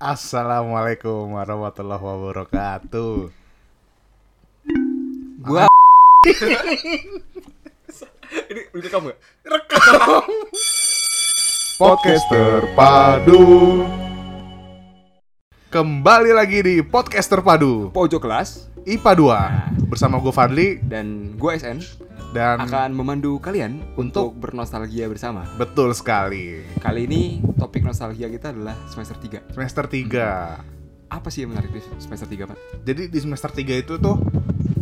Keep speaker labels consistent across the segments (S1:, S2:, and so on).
S1: Assalamualaikum warahmatullahi wabarakatuh.
S2: Gua Ini udah kamu ya?
S1: Podcast terpadu. Kembali lagi di podcast terpadu
S2: Pojok kelas
S1: IPA 2 bersama gue Fadli
S2: dan gua SN
S1: dan
S2: akan memandu kalian
S1: Untuk-
S2: untuk bernostalgia bersama.
S1: betul sekali
S2: Kali ini topik nostalgia kita adalah semester 3.
S1: semester 3.
S2: Apa sih yang menarik di semester 3, Pak?
S1: Jadi di semester 3 itu tuh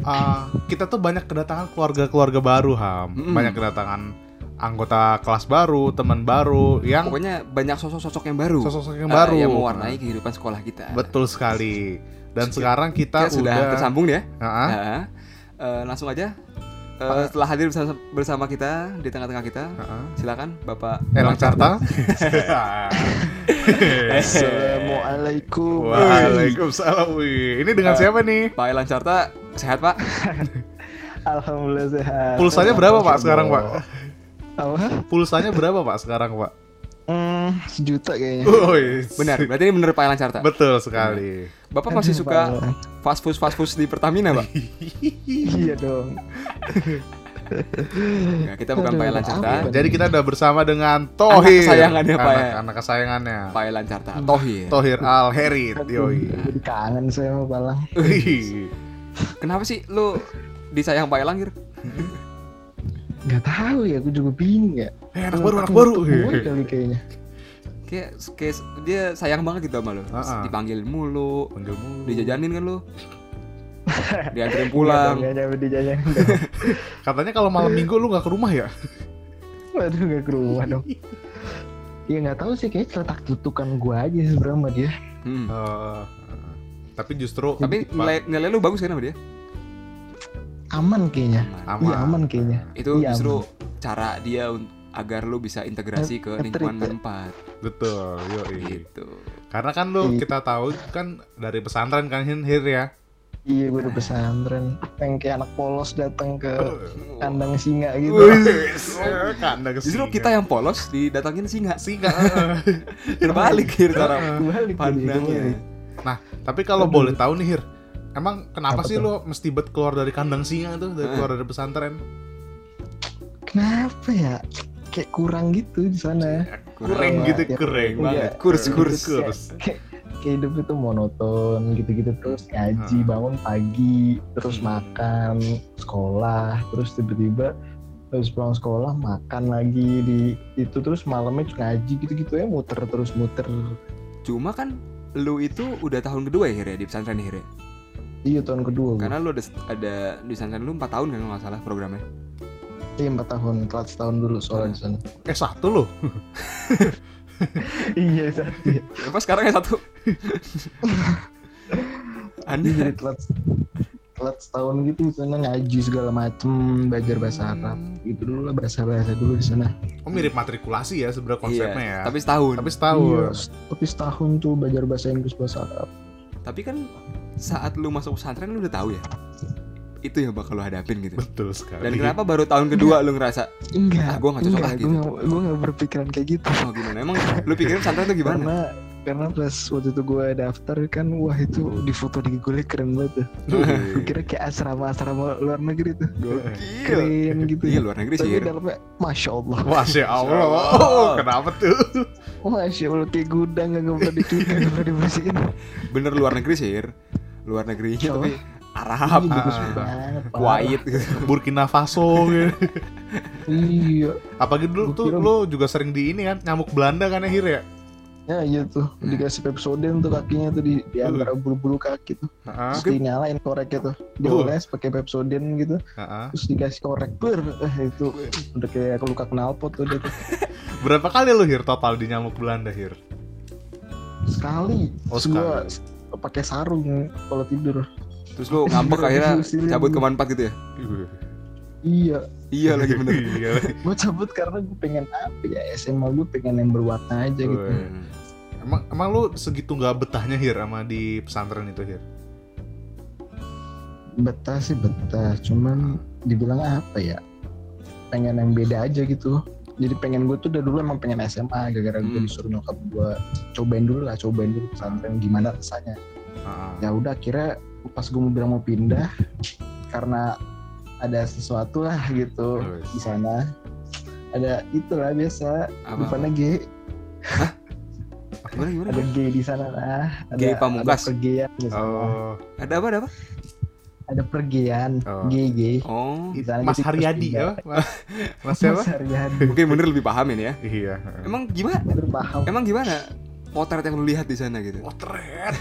S1: eh, kita tuh banyak kedatangan keluarga-keluarga baru ham,
S2: Mm-mm.
S1: banyak kedatangan anggota kelas baru, teman baru yang
S2: Pokoknya banyak sosok-sosok yang baru.
S1: sosok yang
S2: eh,
S1: baru
S2: yang mewarnai kehidupan sekolah kita.
S1: Betul sekali. Dan
S2: Kita-
S1: sekarang kita,
S2: Kita sudah tersambung ya.
S1: Ha-ha.
S2: Heeh. Eh, langsung aja Eh, setelah hadir bersama, bersama kita di tengah-tengah kita.
S1: Heeh.
S2: Silakan Bapak
S1: Elang Eh, Carta.
S3: Assalamualaikum.
S1: Waalaikumsalam. Wih, Ini dengan siapa nih?
S2: Pak Elang Carta sehat, Pak?
S3: Alhamdulillah sehat.
S1: Pulsanya berapa Pak sekarang Pak?
S3: Apa?
S1: Pulsanya berapa Pak sekarang Pak?
S3: Hmm, sejuta kayaknya.
S1: Wih,
S2: Benar. Berarti ini benar Pak Elang Carta.
S1: Betul sekali.
S2: Bapak masih
S3: Aduh,
S2: suka
S3: Pak.
S2: fast food fast food di Pertamina, Pak?
S3: iya dong.
S2: Ya, kita bukan
S3: Aduh,
S2: Pak Elan Carta,
S3: apa?
S1: Jadi kita udah bersama dengan Tohir.
S2: kesayangannya, Pak,
S1: Anak,
S2: ya.
S1: anak kesayangannya.
S2: Pak Elan Carta. Tohir.
S1: Tohir Al Herit. Yoi.
S3: Jadi kangen saya sama Palang.
S1: Wih.
S2: Kenapa sih lu disayang Pak Elang, Gir?
S3: Gak tahu ya, aku juga bingung ya.
S1: Eh, anak baru, anak baru.
S3: Ketemu kali kayaknya. Iya
S2: Kayak, kayak dia sayang banget gitu sama lu.
S1: Ah, ah.
S2: Dipanggil mulu,
S1: Panggil mulu.
S2: dijajanin kan lu.
S3: Iya
S2: Dianterin pulang.
S3: Gak nyampe di jajan.
S1: Katanya kalau malam minggu lu nggak ke rumah ya?
S3: Waduh, gak ke rumah dong. Ya nggak tahu sih, kayaknya letak tutukan gua aja sih sebenarnya sama dia.
S2: Hmm.
S1: Eh, tapi justru
S2: Tapi
S1: Pak,
S2: nilai, nilai lu bagus kan sama dia?
S3: Aman kayaknya. Iya
S1: aman.
S3: aman kayaknya.
S2: Itu
S3: Iya,
S2: justru cara dia un- agar lu bisa integrasi ke
S3: Nge-treat
S2: lingkungan
S3: ya.
S2: tempat
S1: Betul, yoi.
S2: gitu.
S1: Karena kan lu
S3: Iya.
S1: kita tahu kan dari pesantren kan Hin Hir ya.
S3: Iya, gua udah pesantren. Yang kayak anak polos datang ke kandang singa gitu.
S1: Kandang
S2: Justru kita yang polos didatangin
S3: ya?
S2: singa.
S1: singa.
S2: Terbalik Gir cara
S3: Balik jadi,
S2: pandangnya.
S1: nah, tapi kalau
S3: Aduh.
S1: boleh tahu nih Hir, emang kenapa
S3: Apa
S1: sih
S3: tuh?
S1: lu mesti bet keluar dari kandang singa tuh, dari
S2: Eh.
S1: keluar dari pesantren?
S3: kenapa ya kayak kurang gitu di sana
S1: Kurang
S3: Kurang
S1: gitu,
S3: banget ya.
S1: kering
S3: Iya.
S1: banget. gitu,
S2: Kurs, kurs,
S1: kurs.
S3: kayak, kayak hidup itu monoton gitu-gitu terus ngaji
S1: Hmm.
S3: bangun pagi
S2: Ah.
S3: terus
S2: Hmm.
S3: makan sekolah terus tiba-tiba terus pulang sekolah makan lagi di itu terus malamnya ngaji gitu-gitu ya muter terus muter
S2: Cuma kan lu itu udah tahun kedua ya Hir ya di pesantren ya, Hir ya?
S3: iya tahun kedua gua.
S2: Karena lu ada, ada di pesantren lu 4 tahun kan kalau nggak salah programnya.
S3: iya empat tahun telat setahun dulu soalnya di sana
S1: Eh satu loh.
S3: iya satu ya.
S2: Apa sekarang yang satu?
S3: Dia jadi
S2: Aneh.
S3: telat telat setahun gitu di sana ngaji segala macem belajar bahasa
S2: Hmm.
S3: Arab gitu dulu lah bahasa bahasa dulu di sana
S1: Hmm. Oh mirip matrikulasi ya sebenarnya konsepnya
S2: Iya,
S1: ya.
S2: Tapi setahun.
S1: Tapi
S2: Tapi,
S3: Iya,
S1: setahun.
S3: s- tapi setahun tuh belajar bahasa Inggris bahasa Arab.
S2: kan saat lu masuk pesantren lu udah tahu ya. Itu yang bakal lu hadapin gitu.
S1: Betul sekali.
S2: Dan kenapa baru tahun kedua lu ngerasa Ah,
S3: Enggak.
S2: gua nggak cocok
S3: enggak,
S2: lah
S3: gua
S2: gitu.
S3: nggak- Gua nggak berpikiran kayak gitu.
S2: oh gimana? Emang lu pikirin pesantren tuh gimana?
S3: Karena karena pas waktu itu gua daftar kan wah itu di foto di Google keren banget tuh. Gua kira kayak asrama-asrama luar negeri tuh.
S2: Gokil.
S3: Keren gitu.
S2: Iya. Iya
S3: ya.
S2: luar negeri sih.
S3: Tapi
S2: Hir.
S3: dalamnya Masya Allah
S1: Masya Allah,
S2: Allah.
S1: kenapa tuh?
S3: Masya Allah Kayak gudang Gak pernah dicuci Gak pernah dibersihin
S2: Bener luar negeri sih. Hir. Luar negeri Iya,
S3: Insya
S2: tapi
S3: Allah.
S2: Arab,
S3: Iya, bagus
S1: ah,
S3: banget, parah.
S2: Kuwait gitu.
S1: Burkina Faso gitu.
S3: Iya
S1: Apalagi dulu
S3: Gua
S1: tuh
S3: kira-
S1: lu juga sering di ini kan nyamuk Belanda kan akhir ya?
S3: Ya iya tuh
S2: Hmm.
S3: Dikasih Pepsodent tuh kakinya tuh Di,
S2: Iya.
S3: di antara bulu-bulu kaki tuh
S1: Heeh.
S3: Terus dinyalain koreknya tuh Dioles pakai Pepsodent gitu
S1: Heeh.
S3: terus dikasih korek ber eh, itu udah kayak luka knalpot tuh dia tuh
S1: Berapa kali lu hir total di nyamuk Belanda hir?
S3: sekali
S1: Oh,
S3: Terus gua s- pakai sarung kalau tidur
S2: Terus lu ngambek akhirnya cabut ke manfaat gitu ya?
S3: iya
S2: Iya lagi bener.
S1: Iya.
S3: gua cabut karena gua pengen apa ya SMA gua pengen yang berwarna aja gitu
S1: Weh. Emang emang lu segitu nggak betahnya hir sama di pesantren itu hir?
S3: betah sih betah cuman dibilang apa ya pengen yang beda aja gitu jadi pengen gue tuh dari dulu emang pengen SMA gara-gara gue
S2: Hmm.
S3: disuruh nyokap gue cobain dulu lah cobain dulu pesantren gimana rasanya
S1: Ah,
S3: ya udah akhirnya pas gue mau bilang mau pindah karena ada sesuatu lah gitu
S1: Terus.
S3: di sana ada itulah biasa
S2: Apa?
S3: depannya G
S2: Gimana gimana?
S3: ada G di sana lah ada,
S2: Gay pamungkas.
S3: ada pergian di sana.
S1: Oh,
S2: Ada apa ada apa?
S3: ada pergian
S1: Oh.
S3: G G
S2: Oh.
S3: Di sana
S1: Mas
S3: jadi
S1: Haryadi
S3: terus
S1: ya, Mas, Mas siapa?
S3: Mas Haryadi
S2: Mungkin bener lebih paham ini ya.
S1: Iya.
S2: Emang gimana?
S3: baru paham
S2: Emang gimana? Potret yang lu lihat di sana gitu.
S1: Potret.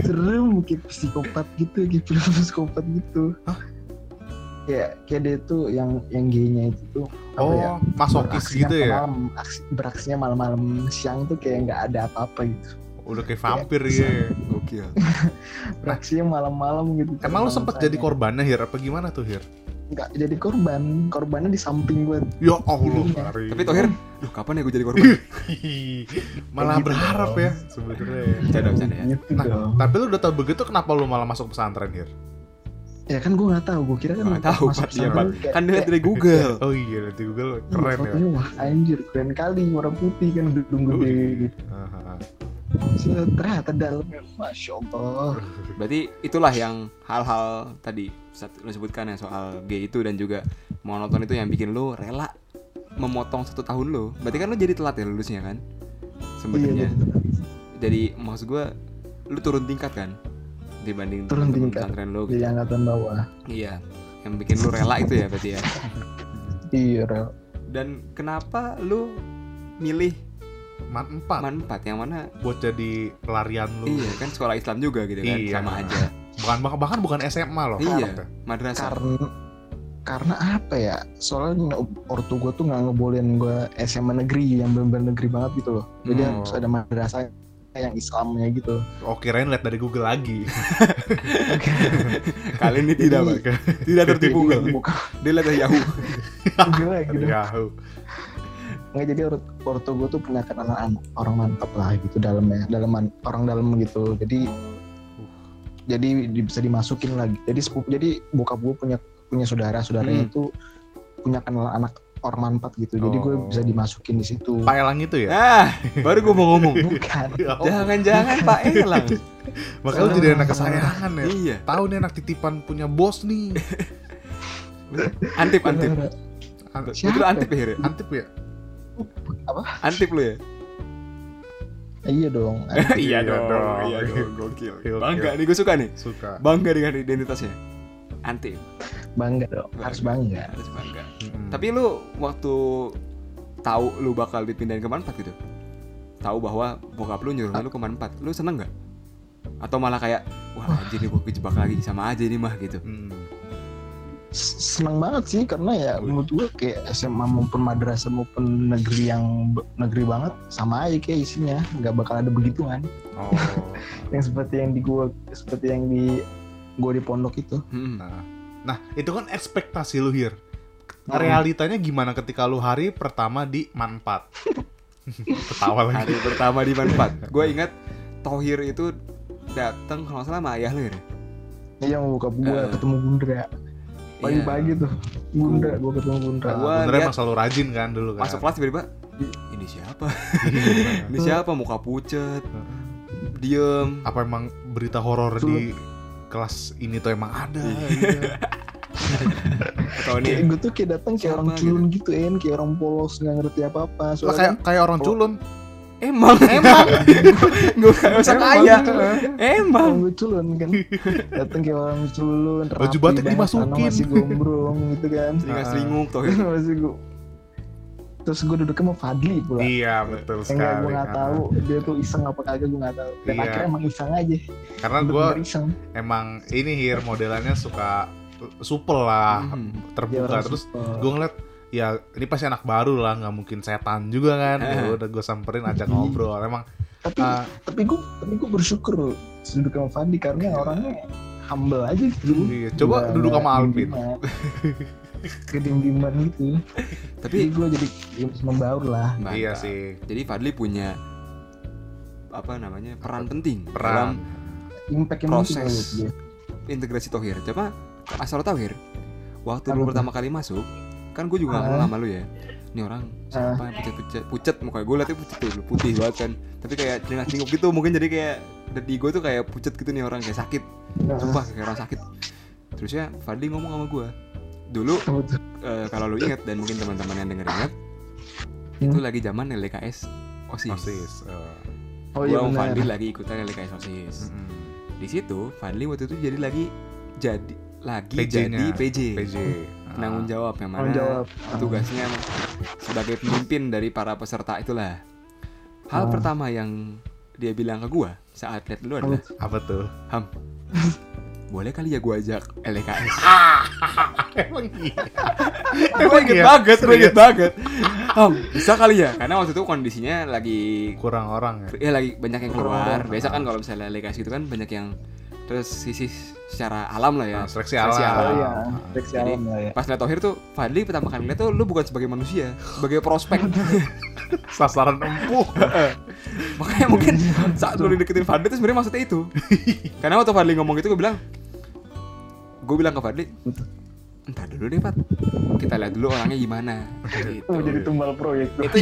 S3: serem kayak psikopat gitu kayak film psikopat gitu ya kayak dia tuh yang yang G-nya itu tuh apa ya,
S1: Oh, masokis
S3: beraksinya
S1: gitu ya?
S3: malam aksi- beraksinya malam-malam siang tuh kayak nggak ada apa-apa gitu
S1: Udah kayak vampir ya.
S3: Iya.
S2: Gokil.
S3: beraksinya malam-malam gitu
S1: Nah, Emang lu sempet jadi korbannya Hir? Apa gimana tuh Hir?
S3: nggak jadi korban korbannya di samping gue
S1: Ya Allah,
S3: Iya.
S1: Ari.
S2: Tapi Tohir, duh kapan ya gue jadi korban?
S1: Hihi. malah
S3: Kayak gitu
S1: berharap
S3: dong.
S1: ya sebenarnya.
S2: Bercanda bercanda ya.
S3: gitu
S1: Nah,
S3: dong
S1: tapi lu udah tau begitu kenapa lu malah masuk pesantren Hir?
S3: ya kan gue nggak tahu gue kira kan
S2: Nggak tahu, Pak, iya,
S3: pesantren kayak-
S2: Kan
S3: kayak-
S2: dilihat dari Google.
S1: Oh iya, nanti Google
S3: iya,
S1: keren ya.
S3: fotonya, wah anjir keren kali warna putih kan gedung gede gitu
S1: Aha.
S3: Set, ternyata dalamnya masya allah Iya,
S2: Berarti itulah yang hal-hal tadi saat lu sebutkan ya soal gay itu dan juga monoton itu yang bikin lu rela memotong satu tahun lu. Berarti kan lu jadi telat ya lulusnya kan?
S3: iya
S2: Sebenarnya. Jadi maksud gue lu turun tingkat kan dibanding
S3: Turun
S2: temen-temen
S3: tingkat.
S2: pesantren lu
S3: jadi
S2: gitu.
S3: angkatan bawah
S2: Iya. Yang bikin lu rela itu ya berarti ya.
S3: iya Rel.
S2: Dan kenapa lu milih
S1: Man empat
S2: man 4 yang mana
S1: buat jadi pelarian lu.
S2: iya kan sekolah Islam juga gitu kan
S1: Iya.
S2: sama aja
S1: Bukan bahkan, bahkan bukan SMA loh.
S2: Iya.
S1: Parah, tuh.
S2: madrasah
S3: karena karena apa ya soalnya ortu gue tuh nggak ngebolehin gue SMA negeri yang benar-benar negeri banget gitu loh jadi
S2: Hmm.
S3: harus ada madrasah yang Islamnya gitu
S1: Oh kirain lihat dari Google lagi. Iya.
S3: Oke.
S2: kali ini tidak
S3: Jadi-
S2: Pak. tidak tertipu Google
S3: Jadi buka
S2: dia lihat dari Yahoo
S3: Google lagi
S1: Dari
S3: dong.
S1: Yahoo.
S2: Iya.
S3: nggak jadi or- ortu gue tuh punya anak orang mantap lah gitu dalamnya dalaman orang dalam gitu jadi jadi di- bisa dimasukin lagi jadi sepupu- jadi bokap gue punya punya saudara saudaranya
S2: Hmm.
S3: itu punya kenal anak orang mantap gitu jadi gue
S1: Oh.
S3: bisa dimasukin di situ
S1: Pak Elang itu ya?
S2: nah baru gue mau ngomong
S3: bukan
S1: Ya Allah,
S2: jangan-jangan Pak Elang
S1: Iya. Makanya lu jadi anak kesayangan ya.
S2: iya
S1: Tahu nih anak titipan punya bos nih.
S2: antip antip
S1: An-
S2: itu
S3: Siapa?
S2: antip ya Hir?
S1: Antip ya?
S2: antip lu ya
S3: Iya dong.
S1: Iya dong.
S2: iya dong gokil
S1: Gokil.
S2: bangga nih gue suka nih
S1: Suka.
S2: bangga dengan identitasnya antip
S3: Bangga dong. Harus bangga.
S2: harus bangga
S1: Mm-mm.
S2: Tapi lu waktu tahu lu bakal dipindahin ke Manpat gitu. Tahu bahwa bokap lu nyuruh lu ke Manpat. Lu seneng nggak? Atau malah kayak wah anjir nih gua kejebak lagi sama aja ini mah gitu.
S1: Mm.
S3: S- Seneng banget sih karena ya menurut gue kayak SMA maupun madrasah maupun negeri yang be- negeri banget sama aja kayak isinya nggak bakal ada begituan
S1: Oh.
S3: yang seperti yang di gua seperti yang di gua di pondok itu
S2: Hmm.
S1: Nah, nah itu kan ekspektasi lu Hir.
S3: Hmm.
S1: Realitanya gimana ketika lu hari pertama di Manpat? Ketawa lagi.
S2: Hari pertama di Manpat, gue ingat Tohir itu datang kalau nggak salah sama ayah lu ya.
S3: Iya mau buka gua
S2: Eh. Iya.
S3: ketemu Bundra pagi-pagi tuh Bundra gua ketemu Bundra
S2: Gua
S1: Gua benernya
S2: liat-
S1: Nah, emang selalu rajin kan dulu kan.
S2: Masuk kelas tiba-tiba ini siapa? Ini siapa? Muka pucet, diem.
S1: Apa emang berita horor
S3: Dulu.
S1: di kelas ini tuh emang ada?
S2: Iya, Atau
S3: kayak
S2: ini
S3: gua tuh kayak datang kayak orang
S2: Siapa
S3: culun gitu en kayak orang polos nggak ngerti apa-apa
S1: Lah
S2: iya.
S1: kayak
S3: soalnya
S1: kayak orang
S3: Oh.
S1: culun.
S2: emang emang gue gak usah
S3: Emang.
S2: Eh, kaya Iya, emang
S3: orang culun kan datang kayak orang culun
S1: Baju
S3: rapi
S1: batik
S3: banget,
S1: dimasukin.
S3: celana masih gombrong gitu kan
S2: Seringas selinguk Tohir
S3: masih gua terus gue duduknya sama Fadli pula
S1: Iya betul
S3: enggak
S1: sekali.
S3: gue nggak
S1: kan.
S3: tahu dia tuh iseng apa kagak gue nggak tahu dan
S1: Iya.
S3: akhirnya emang iseng aja
S1: Karena gue
S3: bener iseng
S1: emang ini Hir modelannya suka supel lah,
S2: Hmm.
S3: Dia
S1: terbuka
S3: orang
S1: terus
S3: super.
S1: gue ngeliat ya ini pasti anak baru lah nggak mungkin setan juga kan ya
S2: Eh.
S1: udah gue samperin ajak ngobrol emang
S3: tapi
S1: ah,
S3: tapi gue tapi gue bersyukur loh duduk sama Fadli karena orangnya humble aja gitu
S1: iya. coba duduk sama Alvin
S3: kedimdiman gitu
S2: tapi
S3: tapi gue jadi membaur lah
S2: Mantap.
S1: iya sih
S2: Jadi Fadli punya apa namanya peran penting dalam
S1: peran
S3: impact yang penting
S2: Proses.
S3: menurut gue.
S2: integrasi Tohir. Coba asal lo tahu Hir, waktu
S3: Apa
S2: lu
S3: tuh?
S2: pertama kali masuk kan gue juga nggak kenal
S3: Ah.
S2: sama lu ya ini orang siapa yang pucat pucat pucat mukanya gue liatnya pucat tuh putih banget kan tapi kayak celengak celinguk gitu mungkin jadi kayak dari gue tuh kayak pucat gitu nih orang kayak sakit
S3: Iya.
S2: sumpah kayak orang sakit terusnya Fadli ngomong sama gue dulu
S3: Apa tuh?
S2: eh, kalau lu inget dan mungkin teman-teman yang denger inget
S3: Hmm.
S2: itu lagi zaman LDKS osis,
S1: Osis. eh,
S2: Gua
S3: oh iya
S2: sama
S3: benar
S2: Fadli lagi ikutan LDKS osis
S1: mm-mm.
S2: di situ Fadli waktu itu jadi lagi jadi lagi
S1: PJ-nya.
S2: jadi PJ,
S1: PJ.
S2: penanggung
S1: Ah.
S2: jawab yang
S3: Tanggung
S2: mana
S3: jawab
S2: tugasnya sebagai pemimpin dari para peserta itulah hal
S3: Ah.
S2: pertama yang dia bilang ke gua saat lihat lu adalah
S1: Apa tuh?
S2: boleh kali ya gua ajak LDKS
S1: Emang iya.
S3: Oh,
S2: gue inget
S1: iya?
S2: banget gue
S1: Serius?
S2: inget banget Ham bisa kali ya karena waktu itu kondisinya lagi
S1: Kurang orang ya.
S2: ya lagi banyak yang keluar
S3: Kurang.
S2: biasa kan kalau misalnya LDKS gitu kan banyak yang terus sisi secara alam lah ya
S1: Nah, seleksi
S2: Seleksi
S1: alam.
S3: oh
S2: alam.
S3: iya
S1: Ah.
S3: Reaksi
S2: Jadi-
S3: alam lah ya
S2: pas liat Tohir tuh Fadli pertama kali liat tuh lu bukan sebagai manusia sebagai prospek
S1: Sasaran empuk.
S2: makanya mungkin
S3: Iya,
S2: saat lu dideketin Fadli tuh sebenarnya maksudnya itu karena waktu Fadli ngomong gitu gue bilang gue bilang ke Fadli entar dulu deh Pat kita lihat dulu orangnya gimana gitu.
S3: Oh, jadi tumbal proyek tuh.
S2: itu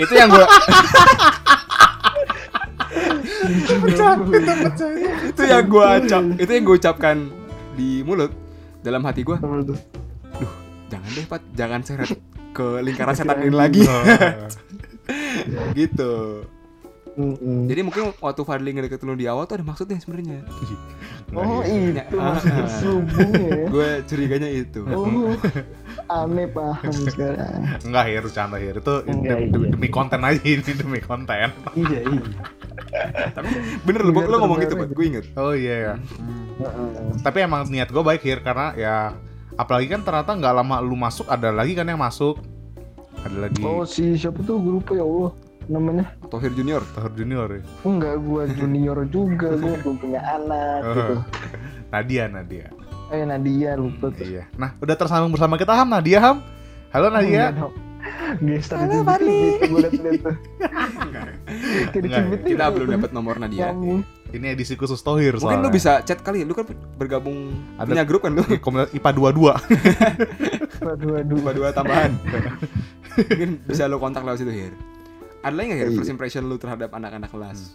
S2: itu yang gue itu yang gue ucap itu yang gue ucapkan di mulut dalam hati gue
S3: Apa tuh?
S2: jangan deh Pat jangan seret ke lingkaran setan ini lagi gitu
S3: Mm-mm.
S2: jadi mungkin waktu Fadli ngedeketin lu di awal tuh ada maksudnya sebenarnya
S3: Oh
S2: iya.
S3: itu maksud selubungnya ya.
S2: gue curiganya itu Hmm.
S3: Oh aneh paham sekarang.
S1: Enggak, Hir, canda Hir. Itu demi,
S3: Enggak,
S1: demi-
S3: iya.
S1: demi konten aja ini, demi konten.
S3: Iya iya.
S2: bener lu
S3: Biar
S2: lo ngomong gitu
S3: terbaru.
S2: Pat gue inget
S1: Oh iya ya. Tapi emang niat gue baik Hir karena ya apalagi kan ternyata nggak lama lu masuk ada lagi kan yang masuk. Ada
S2: Iya.
S1: lagi
S3: Oh si siapa tuh gue lupa ya Allah namanya.
S2: Tohir Junior
S1: Tahir Junior ya.
S3: Enggak gue junior juga gue belum punya anak gitu.
S1: Nadia, Nadia.
S3: Eh Nadia lupa tuh.
S1: Iya. Nah, udah tersambung bersama kita Ham Nadia Ham. Halo Nadia.
S3: Gester itu gitu gue liat-liat tuh.
S1: Enggak,
S3: Kayak dicubit
S2: kita
S3: gitu.
S2: belum dapat Iya. nomor Nadia
S3: Nyambung.
S1: Ini edisi khusus Tohir
S2: mungkin
S1: soalnya.
S2: lu bisa chat kali ya lu kan bergabung
S1: Ada-
S2: punya grup kan lu
S1: Di komunitas IPA 22.
S3: Waduh waduh.
S2: dua dua tambahan mungkin bisa lu kontak lewat situ Hir ada lagi nggak Hir
S3: Iya.
S2: first impression lu terhadap anak-anak kelas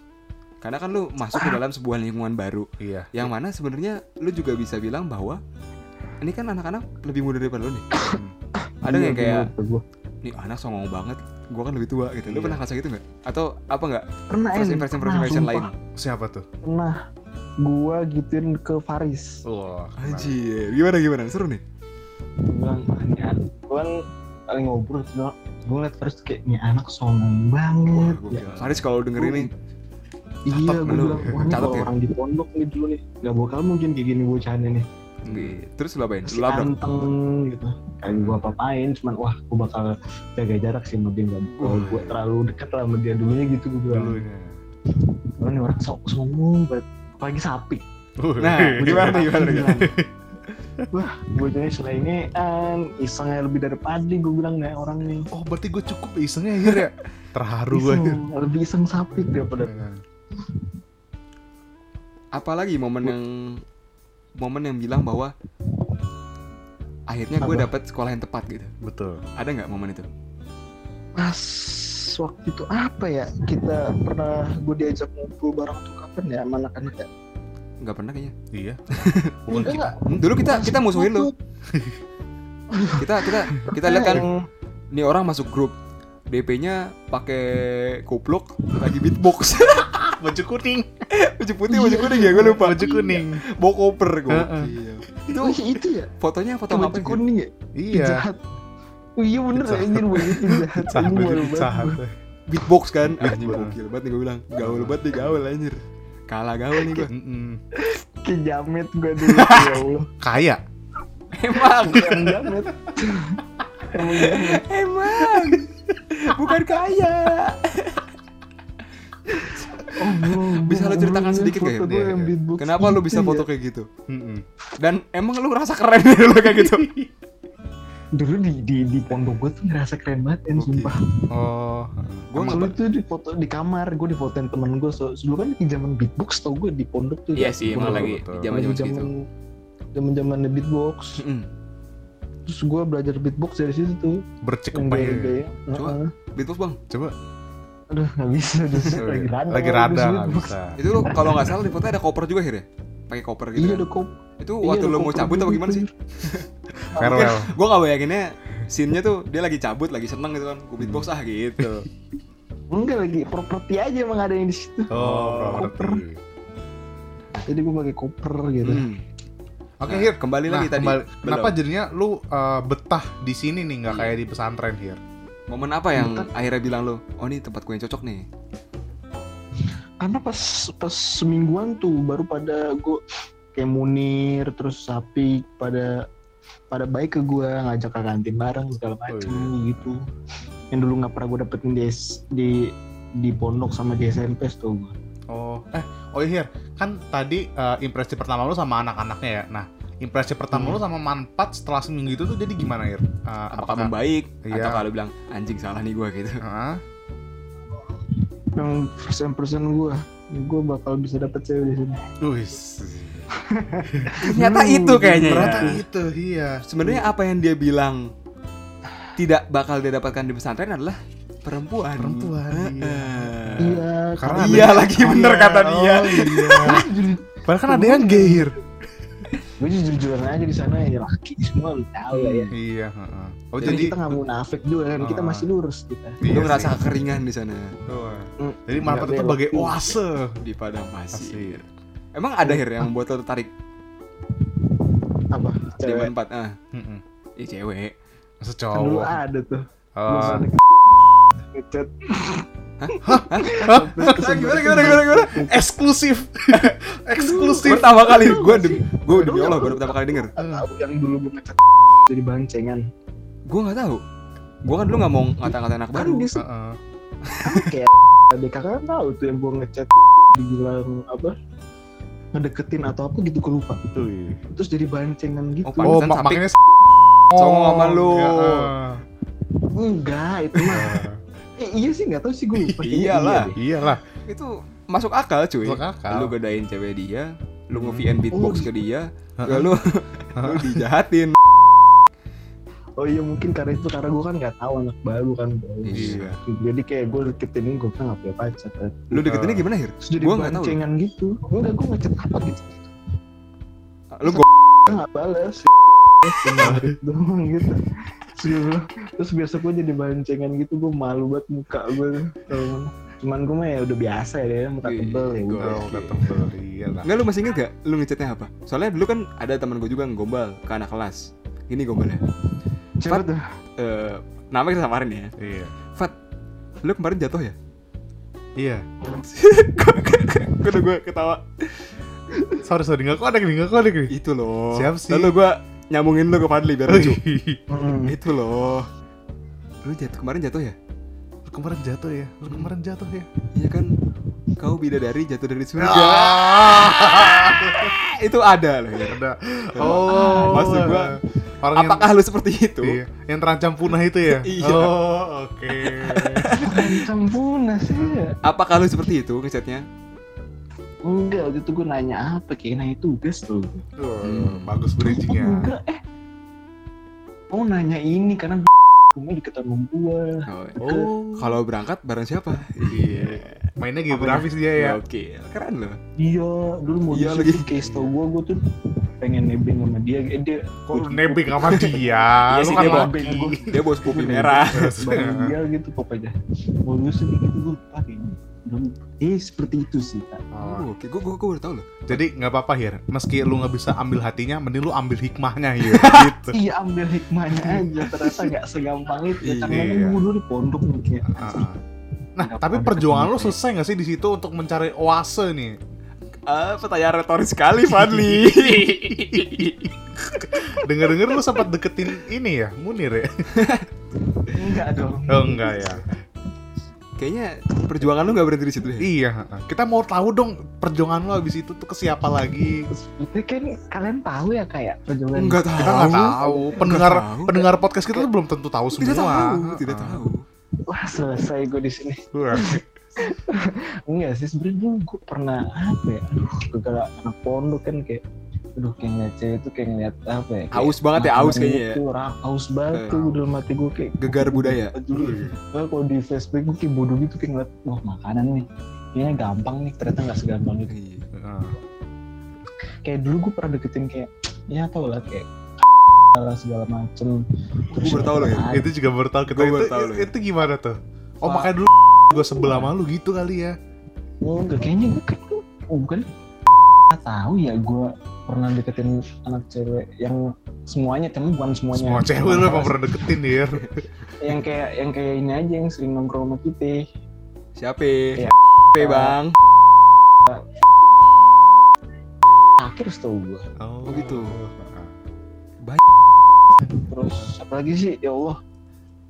S2: karena kan lu masuk ke dalam sebuah lingkungan baru
S1: iya.
S2: yang mana sebenarnya lu juga bisa bilang bahwa ini kan anak-anak lebih muda daripada lu nih ada nggak
S3: Iya,
S2: yang kayak
S3: lupa gua.
S2: nih anak songong banget gua kan lebih tua gitu lu
S1: Iya.
S2: pernah ngerasa gitu nggak atau apa nggak
S3: pernah
S2: first
S3: Em.
S2: impression first
S3: Pernah,
S2: impression
S3: sumpah.
S2: lain
S1: Siapa tuh?
S3: Pernah gua gituin ke Faris.
S1: Wah. menarik.
S2: Anjir, gimana gimana seru nih
S3: Gua bilang "Maknya, gua kan paling ngobrol terus bilang, gua ngeliat terus kayak "Ini anak sombong
S2: Wah,
S3: banget ya,
S2: gokil. Faris kalau lu denger ini
S3: iya
S1: Catat
S3: gua
S2: lu,
S3: bilang wah ini
S2: catat
S3: kalau
S2: ya."
S3: orang di pondok nih dulu nih nggak bakal mungkin kayak gini bocahannya nih
S2: terus lu apain?
S3: terus
S2: Lu labrak.
S3: ganteng gitu kayak gua apa-apain cuman wah gua bakal jaga jarak sih sama dia nggak bakal
S2: Uh.
S3: gua terlalu dekat lah sama dia dulunya gitu gua bilang
S1: Dulunya.
S3: "Wah, ini orang so- sombong banget apalagi sapi
S2: Nah, gimana tuh, gimana tuh?
S3: Bilang, wah bocahnya selengean isengnya lebih dari padi gua bilang ya nih orang nih
S1: Oh, berarti gue cukup isengnya Hir ya. Terharu Iya, gue. Hir.
S3: Iseng, lebih iseng sapi daripada
S2: apalagi momen yang momen yang bilang bahwa akhirnya gue
S3: Apa?
S2: dapet sekolah yang tepat gitu
S1: Betul.
S2: ada nggak momen itu
S3: pas waktu itu apa ya kita pernah gue diajak ngumpul bareng tuh kapan ya sama anak-anak ya
S2: nggak pernah kayaknya
S1: Iya. Bukan
S3: Enggak,
S1: kita.
S3: enggak.
S2: Hmm, dulu kita kita musuhin lu kita kita kita lihat kan
S3: Yang-
S2: nih orang masuk grup DP-nya pakai kupluk lagi beatbox
S1: Baju kuning.
S2: baju putih baju kuning ya gue lupa
S1: Iya, Baju kuning.
S2: bawa koper gue
S1: Heeh.
S2: itu
S3: oh, iya, itu ya
S2: fotonya foto
S3: Yang
S2: apa
S3: baju
S2: gitu?
S3: kuning ya
S1: Iya.
S3: jahat oh, iya bener ya
S1: Jahat.
S3: anjir gue itu jahat
S1: Sahat
S2: Iya,
S3: Ini
S1: baju
S3: malu banget
S1: sahat.
S3: gua.
S2: beatbox kan anjing
S1: Beatbox.
S2: gokil banget nih gue bilang gaul banget nih gaul anjir kalah gaul nih gue
S1: Mm-mm.
S3: kayak jamet gue dulu ya Allah
S1: Kaya.
S2: emang
S3: emang jamet emang jamet
S2: Emang bukan kaya.
S3: oh, gua-
S2: Bisa
S3: gua-
S2: lo ceritakan
S3: gua-
S2: sedikit
S3: foto
S2: gak ya?
S3: gua
S1: Iya,
S3: yang
S1: iya.
S3: beatbox
S2: Kenapa lu
S3: gitu
S2: bisa
S3: ya.
S2: foto kayak gitu?
S1: Mm-mm.
S2: Dan emang lu ngerasa keren dari lu kayak gitu?
S3: dulu di di di pondok gue tuh ngerasa keren banget kan
S2: Oke.
S3: sumpah
S1: Oh.
S2: Gue
S1: Emang
S2: nggak
S3: Dulu tuh di foto di kamar, gue difotoin temen gue. So, dulu kan di zaman beatbox tau gue di pondok tuh.
S2: Iya sih, emang
S1: Betul,
S2: lagi
S1: betul.
S2: zaman zaman segitu.
S3: zaman zaman beatbox.
S2: Mm-mm.
S3: terus gue belajar beatbox dari situ tuh yang
S1: bercekupnya
S3: gaya-gaya
S2: Coba.
S3: Heeh.
S2: beatbox bang
S1: coba
S3: aduh nggak bisa dus. lagi
S1: Iya. lagi
S3: rada abis
S1: rada nggak
S3: beatbox.
S1: bisa
S2: itu lo kalau nggak salah di foto ada koper juga akhirnya pakai koper gitu
S3: iya
S2: kan.
S3: udah kok
S2: itu waktu lo mau cabut apa gimana sih
S1: farewell
S2: gue gak bayanginnya scene-nya tuh dia lagi cabut lagi seneng gitu kan gue beatbox ah gitu
S3: enggak lagi properti aja emang ada yang di situ
S1: oh properti
S3: jadi gue pakai koper gitu
S2: Hmm.
S1: oke
S2: Nah,
S1: Hir
S2: kembali
S1: Nah,
S2: lagi tadi
S1: kembali-
S2: Belum.
S1: kenapa jadinya lu uh, betah di sini nih nggak
S2: Iya.
S1: kayak di pesantren Hir
S2: momen apa yang
S3: Bentar.
S2: akhirnya bilang lo oh ini tempat gue yang cocok nih
S3: karena pas pas semingguan tuh baru pada gue kayak Munir terus Sapi pada pada baik ke gue ngajak ke kantin bareng
S1: Oh,
S3: segala macem
S1: iya.
S3: gitu yang dulu nggak pernah gue dapetin di S- di di pondok sama di SMP tuh gue
S1: oh eh oh iya, Hir kan tadi uh, impresi pertama lu sama anak-anaknya ya nah impresi pertama
S3: Hmm.
S1: lu sama manfaat setelah seminggu itu tuh jadi gimana Hir Uh,
S2: apakah membaik atau
S1: Iya.
S2: kalau bilang anjing salah nih gue gitu
S1: Hah?
S3: yang first impression gue gue bakal bisa dapet cewek di sini
S1: Wis.
S2: ternyata itu kayaknya ya.
S1: Hmm, ternyata itu iya
S2: sebenarnya apa yang dia bilang tidak bakal dia dapatkan di pesantren adalah perempuan
S1: Perempuan, iya.
S2: iya,
S3: iya
S1: karena ada-
S2: Iya, lagi bener kata dia
S1: Oh, iya. Padahal kan ada yang gay Hir
S3: gue jujur jujuran aja di sana ya laki semua lu tahu lah ya
S1: iya heeh. oh
S3: jadi,
S1: jadi
S3: kita nggak munafik juga kan kita
S1: Ah.
S3: masih lurus kita
S2: lu
S1: Iya
S2: ngerasa
S1: sih.
S2: kekeringan di sana
S1: Tuh.
S3: Hmm.
S1: jadi manfaat
S3: Nggak
S1: itu sebagai
S3: belok.
S1: oase
S2: di padang pasir
S1: Asik.
S2: emang ada hir
S1: Ah.
S2: yang membuat lo tertarik
S3: apa
S2: di
S3: cewek
S2: empat ah
S1: Mm-mm.
S2: ya cewek
S1: Masa
S3: kan dulu
S1: cowok
S3: ada tuh
S1: Oh.
S3: Ngechat.
S2: gimana gimana gimana gimana
S1: eksklusif eksklusif
S2: pertama kali gue demi gue demi allah baru pertama kali denger
S3: Aku yang dulu gue ngechat jadi bancengan.
S2: gue nggak tahu gue kan dulu nggak mau ngata-ngatain anak
S3: Kan
S2: baru
S3: di
S1: Heeh.
S3: kayak adik kakak kan tahu tuh yang gue ngechat dibilang apa ngedeketin atau apa gitu gue lupa terus jadi bancengan gitu
S2: Oh, pan-
S1: oh
S2: Pantesan
S1: mak
S2: sapi.
S1: makanya
S2: Songong sama lu.
S3: enggak itu mah eh, iya sih nggak tahu sih gue lupa gitu. Kayaknya
S2: Iyalah.
S3: deh.
S1: iyalah
S2: itu masuk akal cuy
S1: Masuk akal.
S2: iya. lu godain cewek dia lu
S1: Hmm. iya.
S2: nge-VN beatbox
S3: Oh,
S2: ke dia
S1: Heeh.
S2: lalu lu dijahatin
S3: oh iya mungkin karena itu karena gue kan nggak tahu anak baru kan bro.
S2: Iya.
S3: jadi kayak gue deketin ini gue kan nggak punya pacar kan.
S2: lu
S1: Iya.
S2: deketinnya gimana hir
S3: terus jadi
S2: Gua nggak tahu.
S3: bancengan gitu enggak gue ngechat apa gitu
S1: Iya.
S2: lu go
S3: Gua nggak balas Cuma gitu doang gitu Terus gua bilang- terus besok gue jadi bancengan gitu gue malu banget muka gue cuman gue mah ya udah biasa ya muka
S2: Iya,
S3: tebel ya
S2: gua-
S3: udah
S1: Oh, udah tebel iyalah
S2: Nggak lu masih inget gak lu ngechatnya apa? Soalnya dulu kan ada teman gue juga ngegombal ke anak kelas. Gini gombalnya.
S3: Siapa tuh?
S2: Eh, nama kita samarin ya.
S1: iya
S2: Fat, lu kemarin jatuh ya?
S1: iya
S2: Gue udah gue ketawa.
S1: sorry sorry nggak kodek nih nggak kodek nih
S2: Itu loh.
S1: Siap sih. Oh,
S2: Lalu gue nyambungin lu ke Fadli biar Iya, lucu.
S1: iya.
S3: Hmm.
S2: Itu loh. Lu jatuh kemarin jatuh ya?
S1: Lu kemarin jatuh ya Lu kemarin jatuh ya
S2: Iya kan. Kau bidadari jatuh dari surga.
S1: Ah.
S2: Itu ada loh. Ya.
S1: ada oh
S2: Maksud gua,
S1: orang yang-
S2: Apakah lu seperti itu?
S1: Iya, yang terancam punah itu ya?
S2: gitu. Iya.
S1: Oh, oke.
S2: kan.
S3: Campunas ya.
S2: Apakah lu seperti itu ngechatnya?
S3: Enggak, waktu itu gue nanya apa? Kayak nanya tugas tuh.
S1: Tuh,
S2: Hmm.
S1: bagus bridgingnya.
S3: Enggak, eh. Mau nanya ini karena rumah deket sama gue.
S2: Oh.
S1: Oh,
S2: Kalau berangkat bareng siapa?
S1: iya. Mainnya geografis dia ya.
S2: Oke, keren loh.
S3: Iya, dulu mau
S2: Iya lagi.
S3: lagi. Kayak tau gue, gue tuh pengen nebeng sama dia. Eh, dia
S1: Kok lu nebeng sama dia?
S2: Iya
S1: Lu
S2: sih, Iya.
S1: kan
S2: dia
S1: laki.
S3: nebeng gua.
S2: Dia bos kopi merah.
S3: bareng dia gitu pokoknya mau nyusun gitu gue pakai eh seperti itu sih kak
S1: Oh.
S2: Oke, gue gue baru tahu loh.
S1: Jadi nggak apa-apa Hir, meski lu nggak bisa ambil hatinya, mending lu ambil hikmahnya Hir. gitu.
S3: iya ambil hikmahnya aja ternyata nggak segampang itu karena kan
S1: Iya.
S3: gue dulu di pondok nih kayak
S2: Ah,
S1: Heeh. Nah, tapi perjuangan lu selesai nggak sih di situ untuk mencari oase nih?
S2: Ah, pertanyaan retoris sekali, Fadli.
S1: Dengar-dengar lu sempat deketin ini ya, Munir ya?
S3: enggak dong
S1: Oh enggak ya.
S2: Kayaknya perjuangan lu nggak berhenti di situ ya.
S1: Iya, heeh. kita mau tahu dong perjuangan lo abis itu tuh ke siapa lagi?
S3: itu kan kalian tahu ya kayak perjuangan
S2: Enggak tahu.
S1: Kita nggak tahu. Pendengar
S2: tahu.
S1: pendengar podcast kita tuh belum tentu tahu semua. Iya.
S2: Tidak tahu, tidak
S1: Heeh.
S2: tahu.
S3: wah selesai gue di sini
S1: Wah,
S3: enggak sih sebenarnya dulu gue pernah apa ya aduh gara anak pondok kan kayak aduh kayak ngeliat cewek tuh kayak ngeliat apa ya kayak
S2: Aus banget ya,
S3: makanan
S2: aus kayaknya
S1: Iya.
S2: ya.
S3: gitu, ra- aus banget
S2: Eh.
S3: tuh dalam hati gue kayak
S2: Gegar budaya.
S3: dulu Nah, kalau di Facebook gue kayak bodoh gitu kayak ngeliat wah makanan nih kayaknya gampang nih ternyata nggak segampang itu
S2: Iya.
S1: Heeh.
S3: kayak dulu gue pernah deketin kayak ya tau lah kayak lah segala macem
S2: Gue baru tau loh ya.
S3: Ay,
S1: itu juga baru tahu kita
S2: Gua
S1: itu,
S2: baru tahu loh ya.
S1: itu gimana tuh oh
S2: Wah.
S1: makanya dulu gue sebelah malu gitu kali ya
S3: enggak kayaknya gue kayak tuh bukan nggak tahu ya gue pernah deketin anak cewek yang semuanya tapi bukan semuanya
S1: semua cewek lu emang pernah deketin dir
S3: yang kayak yang kayak ini aja yang sering nongkrong sama kita
S2: Siapa?
S3: Iya.
S2: Siapa bang?
S3: akhir setahu gue
S1: oh,
S2: gitu.
S3: terus apalagi sih ya Allah